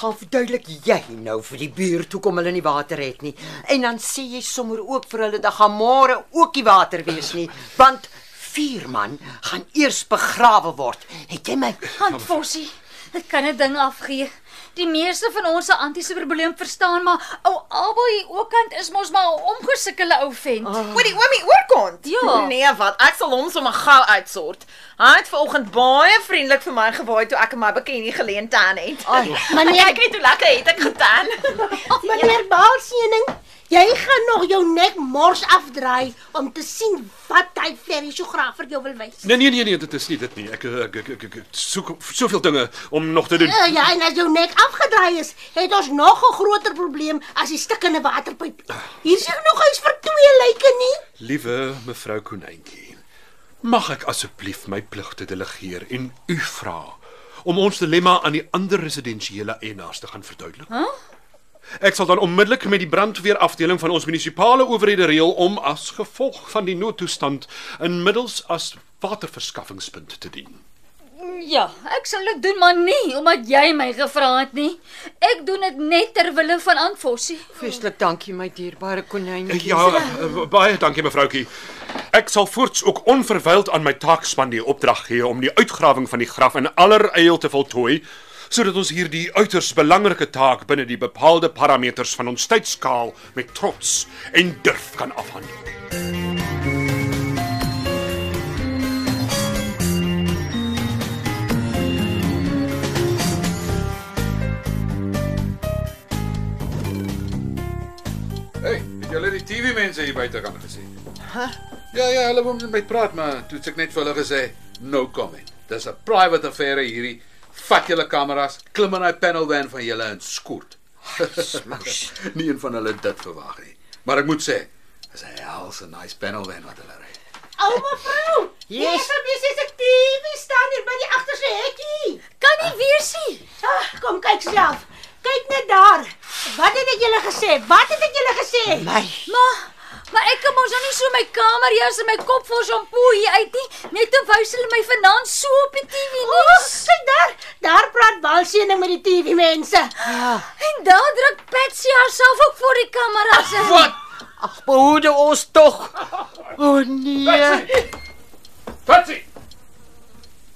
Speaker 3: Gaan verduidelik jy nou vir die buurt hoekom hulle nie water het nie. En dan sê jy sommer ook vir hulle dat gaan môre ook nie water wees nie, want vier man gaan eers begrawe word. Het jy my?
Speaker 4: Aan Forsie, ek kan 'n ding afgee. Die meeste van ons se antiese probleem verstaan, maar ou Abel hier ookant is mos maar 'n omgesukkelde ou vent.
Speaker 6: Oor die oomie oorkant.
Speaker 4: Ja.
Speaker 6: Nee, wat? Ek sal hom sommer gou uitsort. Hy het vanoggend baie vriendelik vir my gewaai toe ek in my bikini geleen tan het.
Speaker 3: Ai.
Speaker 2: Meneer-
Speaker 6: kyk net [laughs] hoe lekker het ek getan.
Speaker 2: Meneer Balsiening, jy gaan nog jou nek mors afdraai om te sien wat hy verrie so graag vir jou wil wys.
Speaker 5: Nee nee nee nee, dit is nie dit nie. Ek ek ek, ek, ek, ek soek soveel dinge om nog te doen.
Speaker 2: Uh, ja, en as jou nek afgedraai is, het ons nog 'n groter probleem as die stikkende waterpyp. Hier sien nog eens vir twee lyke nie.
Speaker 5: Liewe mevrou Konyntjie, mag ek asseblief my pligte delegeer en u vra om ons dilemma aan die ander residensiële eienaars te gaan verduidelik? Huh? Ek sal dan onmiddellik met die brandweerafdeling van ons munisipale owerhede reël om as gevolg van die noodtoestand inmiddels as waterverskaffingspunt te dien.
Speaker 4: Ja, ek sal dit doen, maar nie omdat jy my gevra het nie. Ek doen dit net ter wille van Aunt Forsie.
Speaker 3: Feestelik dankie my dierbare konyn.
Speaker 5: Ja, eh, baie dankie mevroutjie. Ek sal voorts ook onverwyld aan my taakspan die opdrag gee om die uitgrawing van die graf in alleryl te voltooi sodat ons hierdie uiters belangrike taak binne die bepaalde parameters van ons tydskaal met trots en durf kan afhandel.
Speaker 1: Hey, het julle die TV mense hier buite kan gesien? Ja ja, hulle wou met my praat, maar toe het ek net vir hulle gesê no comment. Dis 'n private affair hierdie. Vat julle kameras, klim in daai panel van van julle en skoort. [laughs] Nie een van hulle dit verwag nie. Maar ek moet sê, dis 'n helse nice panel van wat hulle ry.
Speaker 2: Ouma vrou,
Speaker 3: Yes.
Speaker 2: yes. hier is 'n TV staan hier by die agterste hekkie.
Speaker 4: Kan nie weer sien.
Speaker 2: Ag, kom kyk self. Kyk net daar. Wat het ek julle gesê? Wat het ek julle gesê?
Speaker 3: My
Speaker 4: Maar maar ek kan mos nou nie so my kamer hier in my kop vol shampoo hier uit nie. Net om wys hulle my vanaand so op die TV
Speaker 2: Oh,
Speaker 4: nuus.
Speaker 2: kyk daar. Daar praat Balsiening met die TV mense.
Speaker 4: Ja. En daar druk Patsy haarself ook voor die kameras in. Wat?
Speaker 3: Ag, behoede ons tog. O oh, nee.
Speaker 1: Patsy!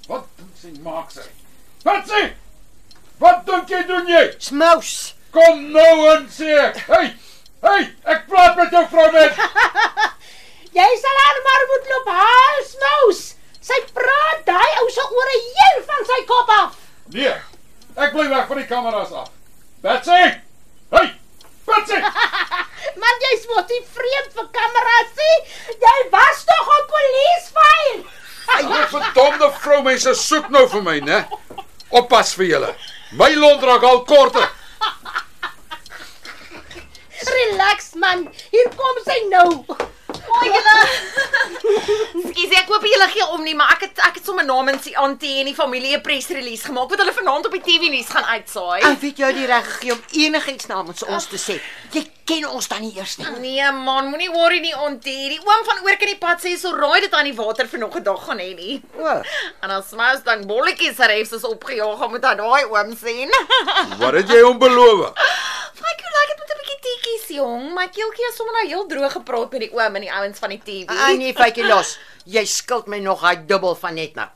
Speaker 1: Wat dink sy maak sy? Patsy! Wat dink jy doen jy?
Speaker 3: Smous.
Speaker 1: Kom nou en sê ek. Hey! Hey, ek praat met jou vrou met.
Speaker 2: Jy sal haar maar moet loop haal smous. Sy praat daai ou se ore heel van sy kop af.
Speaker 1: Nee. Ek bly weg van die kameras af. Betsy! Hey! Betsy!
Speaker 2: Maar jy Jy's mos nie vreemd vir kameras nie. Jy was tog op polisiefeil.
Speaker 1: Hierdie verdomde vroumense soek nou vir my, né? Oppas vir julle. My lont raak al korter.
Speaker 2: Relax man, hier kom sy nou.
Speaker 6: Hoi julle. Skus ek hoop julle gee om nie, maar ek het ek het sommer namens die auntie en die familie 'n press release gemaak wat hulle vanaand op die TV nuus gaan uitsaai.
Speaker 3: Ek weet jy het die reg gegee om enigiets namens ons te sê. Jy ken ons dan nie eers nie.
Speaker 6: Nee man, moenie worry nie auntie. Die oom van oor kan die pad sê so raai dit aan die water vanoggend 'n dag gaan hê nie.
Speaker 3: O,
Speaker 6: [laughs] En as mens dan bolletjies reefs is opgejaag, dan moet hy daai oom sien. [laughs]
Speaker 1: Wat het jy hom beloof?
Speaker 6: Kyk hoe lyk dit met 'n bietjie teetjies jong. My keeltjie is sommer nou heel droog gepraat met die oom en die ouens van die TV.
Speaker 3: en jy fytjie ah, nee, los. Jy skuld my nog daai dubbel van net nou.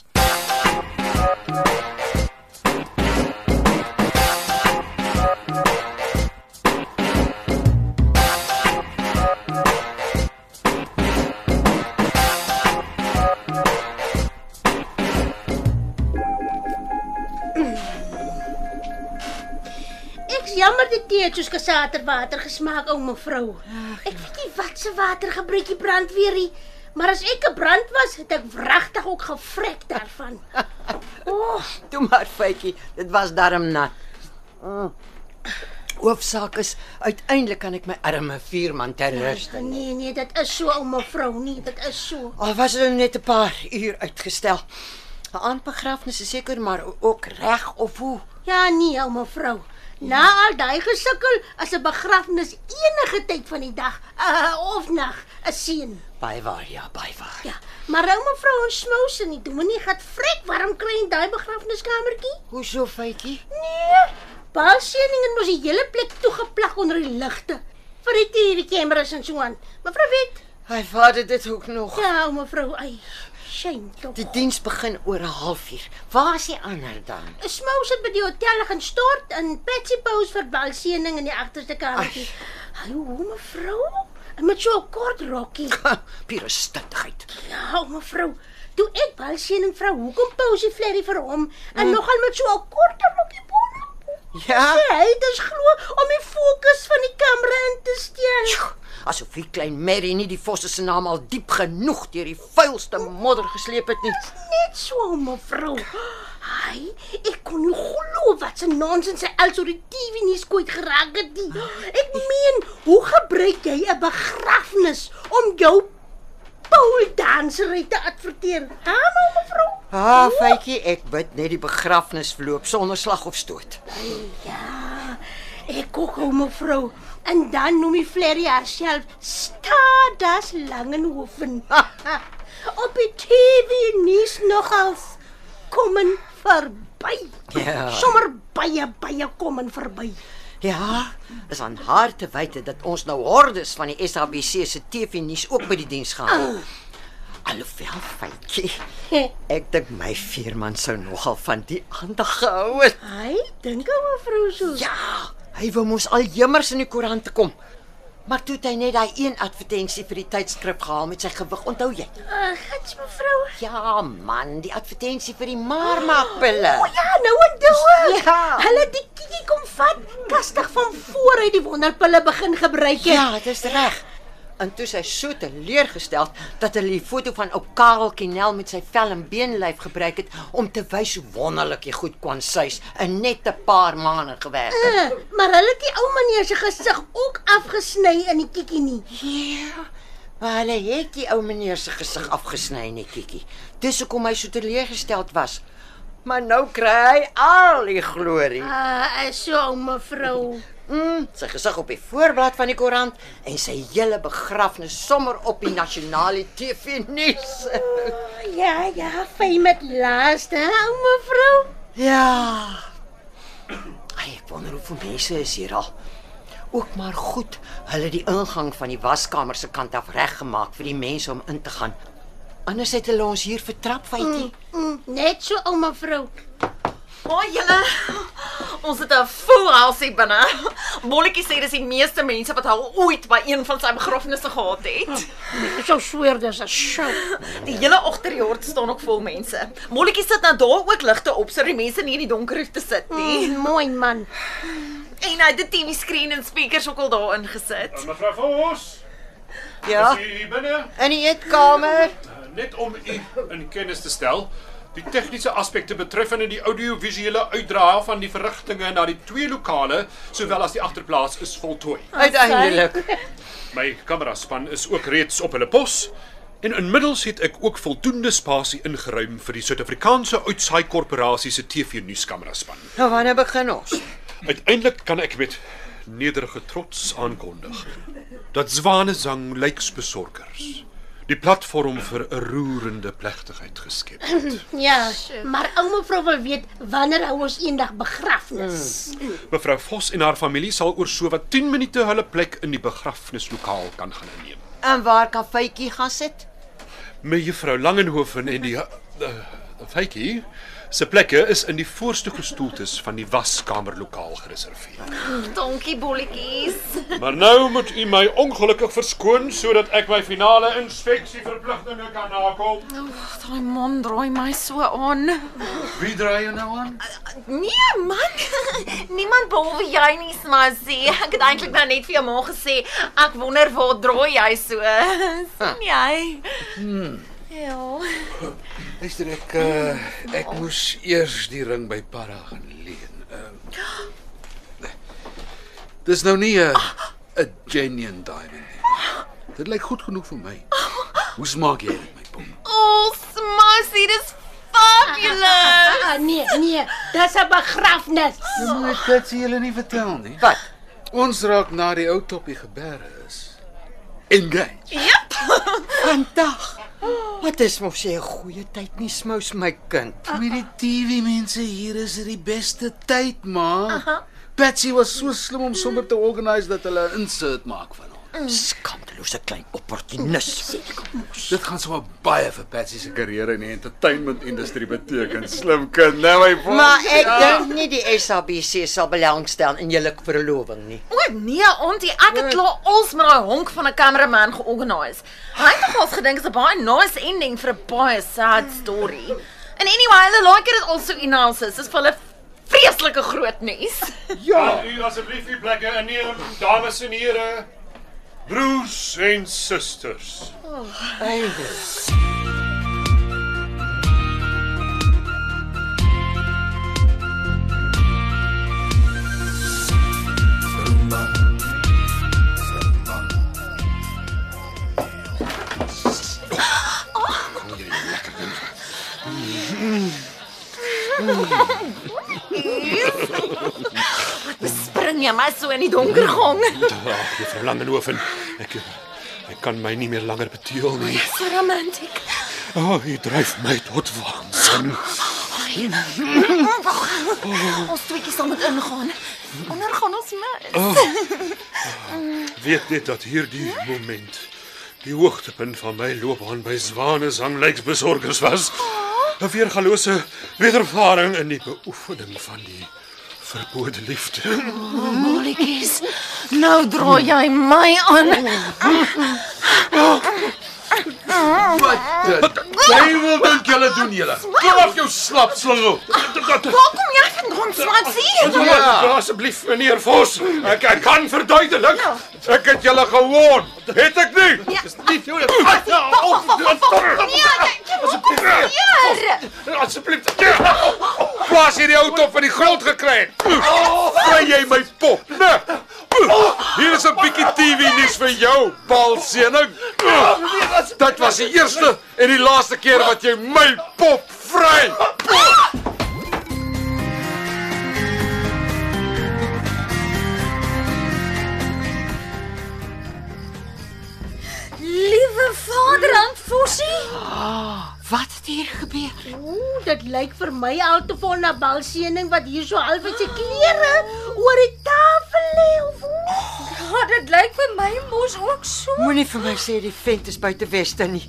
Speaker 2: Ek's jammer dit tee het soos kasaterwater gesmaak, ou mevrou. Ek weet nie wat se water gebruik die brandweer nie, maar as ek 'n brand was, het ek wragtig ook gevrek daarvan. O, oh,
Speaker 3: Toe maar fytjie, dit was darm nat. Mm. Hoofsaak is uiteindelik kan ek my arme vierman ter ruste.
Speaker 2: nee nee, dit is so ou mevrou, nee, dit is so.
Speaker 3: Al was dit nou net 'n paar uur uitgestel. 'n Aanbegrafnis is seker maar ook reg of hoe?
Speaker 2: Ja nee, ou mevrou. Na al daai gesukkel as 'n begrafnis enige tyd van die dag uh, of nag 'n seën.
Speaker 3: Baie waar, ja, baie waar.
Speaker 2: Ja, maar ou mevrou ons smous en die dominee gaan vrek warm kry in daai begrafniskamertjie.
Speaker 3: Hoe so fytjie?
Speaker 2: Nee. Baie seëning en mos die hele plek toegeplak onder die ligte vir die tierkameras en so aan. Mevrou weet,
Speaker 3: Hy vader dit ook nog.
Speaker 2: ja, ou mevrou, ai. Shame tog.
Speaker 3: Die diens begin oor 'n halfuur. Waar is die ander dan?
Speaker 2: Smous het by die hotel gaan stort en Patsy Pous vir baie seëning in die agterste kamertjie. Ai, hoe mevrou? En met so 'n kort rokkie.
Speaker 3: [laughs] Pure stintigheid.
Speaker 2: Ja, ou mevrou. Toe ek baie seëning vra, hoekom Pous die flerry vir hom en mm. nogal met so 'n kort rokkie bonop?
Speaker 3: Ja.
Speaker 2: Sê hy dit is glo om die fokus van die kamera in te steel.
Speaker 3: Asof die klein Mary nie die vosse se naam al diep genoeg deur die vuilste modder gesleep het nie.
Speaker 2: Net so, mevrou. Ai, ek kon nie glo wat se nonsens sy als oor die TV nuus kwyt geraak het nie. Ek meen, hoe gebruik jy 'n begrafnis om jou pooldansery te adverteer? Ha, nou, mevrou.
Speaker 3: Ah, fytjie, ek bid net die begrafnis verloop sonder slag of stoot.
Speaker 2: Ja, ek ook, o, mevrou. En dan noem die flerry haarself Stadas Langenhoven. [laughs] Op die TV nuus nogals kom en verby.
Speaker 3: Ja.
Speaker 2: Sommer baie baie kom en verby.
Speaker 3: Ja, is aan haar te wyte dat ons nou hordes van die SABC se TV-nuus ook by die diens gehad het. Alhoewel fytjie, ek dink my veerman sou nogal van die aandag gehou het.
Speaker 2: Hy dink ou mevrou so.
Speaker 3: Ja, hy wou mos al jemmers in die koerant te kom. Maar toe het hy net daai een advertensie vir die tydskrif gehaal met sy gewig, onthou jy?
Speaker 2: uh, gits mevrou.
Speaker 3: Ja man, die advertensie vir die marmaakpille.
Speaker 2: O ja, nou en doe.
Speaker 3: Ja.
Speaker 2: Hulle het die kiekie kom vat, kastig van voor uit die wonderpille begin gebruik het.
Speaker 3: Ja, dit is reg. En toe sy so teleurgestel dat hulle die foto van ou Karel Kinel met sy vel en beenlyf gebruik het om te wys hoe wonderlik hy goed kon suis in net 'n paar maande gewerk het.
Speaker 2: Uh, maar hulle het die ou meneer se gesig ook afgesny in die kiekie nie.
Speaker 3: Ja. Maar hulle het die ou meneer se gesig afgesny netjie. Dis hoekom hy so teleurgesteld was. Maar nou kry hy al die glorie.
Speaker 2: Ah, uh, so ou mevrou.
Speaker 3: Mm, sy gesig op die voorblad van die koerant en sy hele begrafnis sommer op die nasionale TV-nuus.
Speaker 2: Ja, ja, fyn met laaste, ou mevrou.
Speaker 3: Ja. Ai, ek wonder hoeveel mense is hier al. Ook maar goed, hulle het die ingang van die waskamer se kant af reggemaak vir die mense om in te gaan. Anders het hulle ons hier vertrap, feitjie.
Speaker 2: Mm, net so ou mevrou.
Speaker 6: Hoi julle. [laughs] Ons het 'n full house hier binne. Bolletjie sê dis die meeste mense wat hy al ooit by een van sy begrafnisse gehad het.
Speaker 2: Ek sou sweer dis 'n show.
Speaker 6: Die hele agterjaar staan ook vol mense. Bolletjie sit nou daar ook ligte op sodat die mense nie in die donker hoef te sit nie.
Speaker 2: Mm, mooi man.
Speaker 6: En hy het die TV skerm en speakers ook al daarin gesit.
Speaker 7: Mevrou Vos,
Speaker 3: Ja,
Speaker 7: is u hier binne
Speaker 3: in die eetkamer.
Speaker 7: net om u in kennis te stel. Die tegniese aspekte betreffende die audiovisuele uitdraai van die verrigtinge na die twee lokale, sowel as die agterplaas is voltooi.
Speaker 3: Uiteindelik.
Speaker 7: My kameraspan is ook reeds op hulle pos.
Speaker 5: En inmiddels het ek ook voldoende spasie ingeruim vir die Suid-Afrikaanse Uitsaai Korporasie se TV-nuuskamera span.
Speaker 3: Nou wanneer begin ons?
Speaker 5: Uiteindelik kan ek met nederige trots aankondig dat Zwanezang lyksbesorgers die platform vir 'n roerende plegtigheid geskep het. [clears throat]
Speaker 2: Ja, maar ouma vrou wil weet wanneer hou ons eendag begrafnis?
Speaker 5: Mevrou Vos en haar familie sal oor sowat 10 minute hulle plek in die begrafnislokaal kan gaan inneem.
Speaker 3: En waar kan Faitjie gaan sit?
Speaker 5: Me juffrou Langenhoven en die uh,
Speaker 7: eh,
Speaker 5: Faitjie se plekke is in die voorste gestoeltes van die waskamerlokaal gereserveer.
Speaker 6: Donkie bolletjies.
Speaker 7: Maar nou moet u my ongelukkig verskoon sodat ek my finale inspeksie verpligtinge kan nakom.
Speaker 6: Daai man draai my so aan.
Speaker 7: Wie draai jy nou aan?
Speaker 6: Nee man, [laughs] niemand behalwe jy nie, Smasie. Ek het eintlik nou net vir jou ma gesê, ek wonder waar draai jy so. [laughs] sien jy? Ja.
Speaker 1: Luister ek uh, ek moes eers die ring by Parra gaan leen. Uh, dis nou nie 'n 'n genuine diamond nie. Dit lyk goed genoeg vir my. Hoe smaak jy dit my pom?
Speaker 6: O, oh, Smasie, dis fabulous.
Speaker 2: Ah nee, nee, dis 'n begrafnis.
Speaker 1: Nou moet ek dit vir julle nie vertel nie.
Speaker 3: Wat?
Speaker 1: Ons raak na die ou toppie geberre is. Engage. [laughs]
Speaker 3: Vandag. Wat is mos jy 'n goeie tyd nie smous my kind.
Speaker 1: Met die TV mense hier is dit die beste tyd, ma. Patsy was so slim om sommer te organise dat hulle 'n insert maak van hom.
Speaker 3: Mm. Hmm. Skandalose klein opportunis.
Speaker 1: Dit gaan sommer baie vir Patsy se kariere in die entertainment industrie beteken. Slim kind, nou hy vol.
Speaker 3: Maar ek dink nie die SABC sal belangstel in julle verloving nie.
Speaker 6: O nee, ontie, ek het klaar als met daai honk van 'n kameraman georganiseer. Hy het nogals gedink is 'n baie nice ending vir 'n baie sad story. And anyway, hulle like dit also analysis. Dis vir hulle vreeslike groot nuus.
Speaker 7: Ja, u asseblief u plekke inneem, dames en here. Broers en susters.
Speaker 3: Eindelik.
Speaker 6: Spring jy maar so in die donker gang.
Speaker 5: Ag, juffrou Langenhoven, ek ek kan my nie meer langer beteel nie.
Speaker 6: So romantiek.
Speaker 5: O, oh, jy dryf my tot waansin.
Speaker 6: Ons tweeetjie sal moet ingaan. Onder gaan ons mis.
Speaker 5: Weet net dat hierdie moment die hoogtepunt van my loopbaan by Zwane Sanglyksbesorgers was.
Speaker 6: Ah.
Speaker 5: 'n Weergalose wederervaring in die beoefening van die verbode liefde.
Speaker 6: Molletjies. Oh, Nou draai jy my aan.
Speaker 5: Jy wil dink julle doen julle. Kom af jou slap slingel.
Speaker 6: Ah. Waar kom jy vandaan, Swansie?
Speaker 5: Ja, asseblief meneer Vos. Ek ek kan verduidelik. Ek het julle gewoon. Het ek nie? Dis nie jou.
Speaker 6: Ja, jy kom kom hier.
Speaker 5: Asseblief. Plaas hierdie auto van die grond gekry. Vry jy my pop. Nee. Hier is 'n bietjie TV nuus vir jou, balsening. Dit was die eerste en die laaste keer wat jy my pop vry.
Speaker 4: Liewe vaderhand Fossie.
Speaker 3: Ah, Wat het hier gebeur?
Speaker 2: Ooh, dit lyk vir my al te vol na balsening wat hier so half uit sy klere oor die tafel lê of hoe.
Speaker 4: Ja, dit lyk vir my mos ook so.
Speaker 3: Moenie vir my sê die vent is buite Weste nie.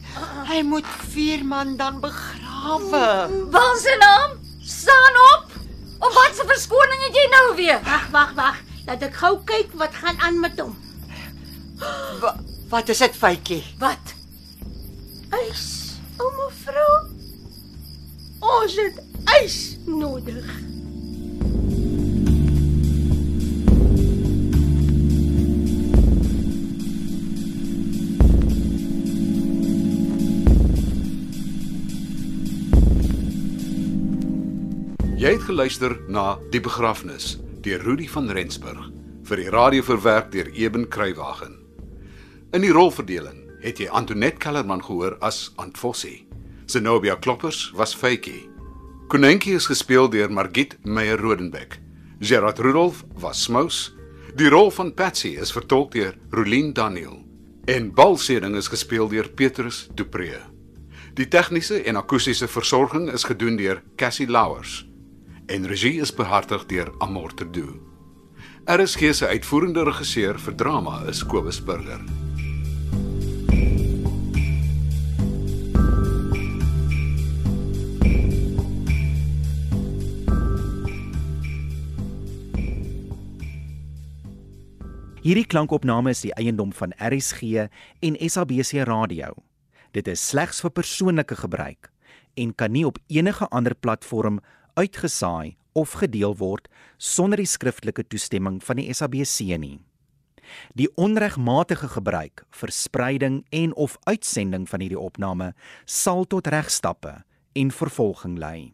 Speaker 3: Hy moet vier man dan begrawe.
Speaker 4: Wat se naam? Staan op. Of wat se verskoning het jy nou weer?
Speaker 2: Wag, wag, wag. Laat ek gou kyk wat gaan aan met hom.
Speaker 3: Wa wat is dit, Faitjie?
Speaker 4: Wat?
Speaker 2: Ys. O mevrou. Ons het ys nodig.
Speaker 1: Jy het geluister na Die begrafnis deur Rudi van Rensburg vir die radio verwerk deur Eben Kruiwagen. In die rolverdeling het jy Antoinette Kellerman gehoor as Antfossie. Zenobia Kloppers was Faitjie. Konenkie is gespeel deur Margit Meyer Rodenbeck. Gerard Rudolph was Smous. Die rol van Patsy is vertolk deur Rolien Daniel en Balseding is gespeel deur Petrus Dupré. Die tegniese en akoestiese versorging is gedoen deur Cassie Louwers en regie is behartig deur Amorte Doo. RSG se uitvoerende regisseur vir drama is Kobus Burger.
Speaker 8: Hierdie klankopname is die eiendom van RSG en SABC Radio. Dit is slegs vir persoonlike gebruik en kan nie op enige ander platform uitgesaai of gedeel word sonder die skriftelike toestemming van die SABC nie. Die onregmatige gebruik, verspreiding en of uitsending van hierdie opname sal tot regstappe en vervolging lei.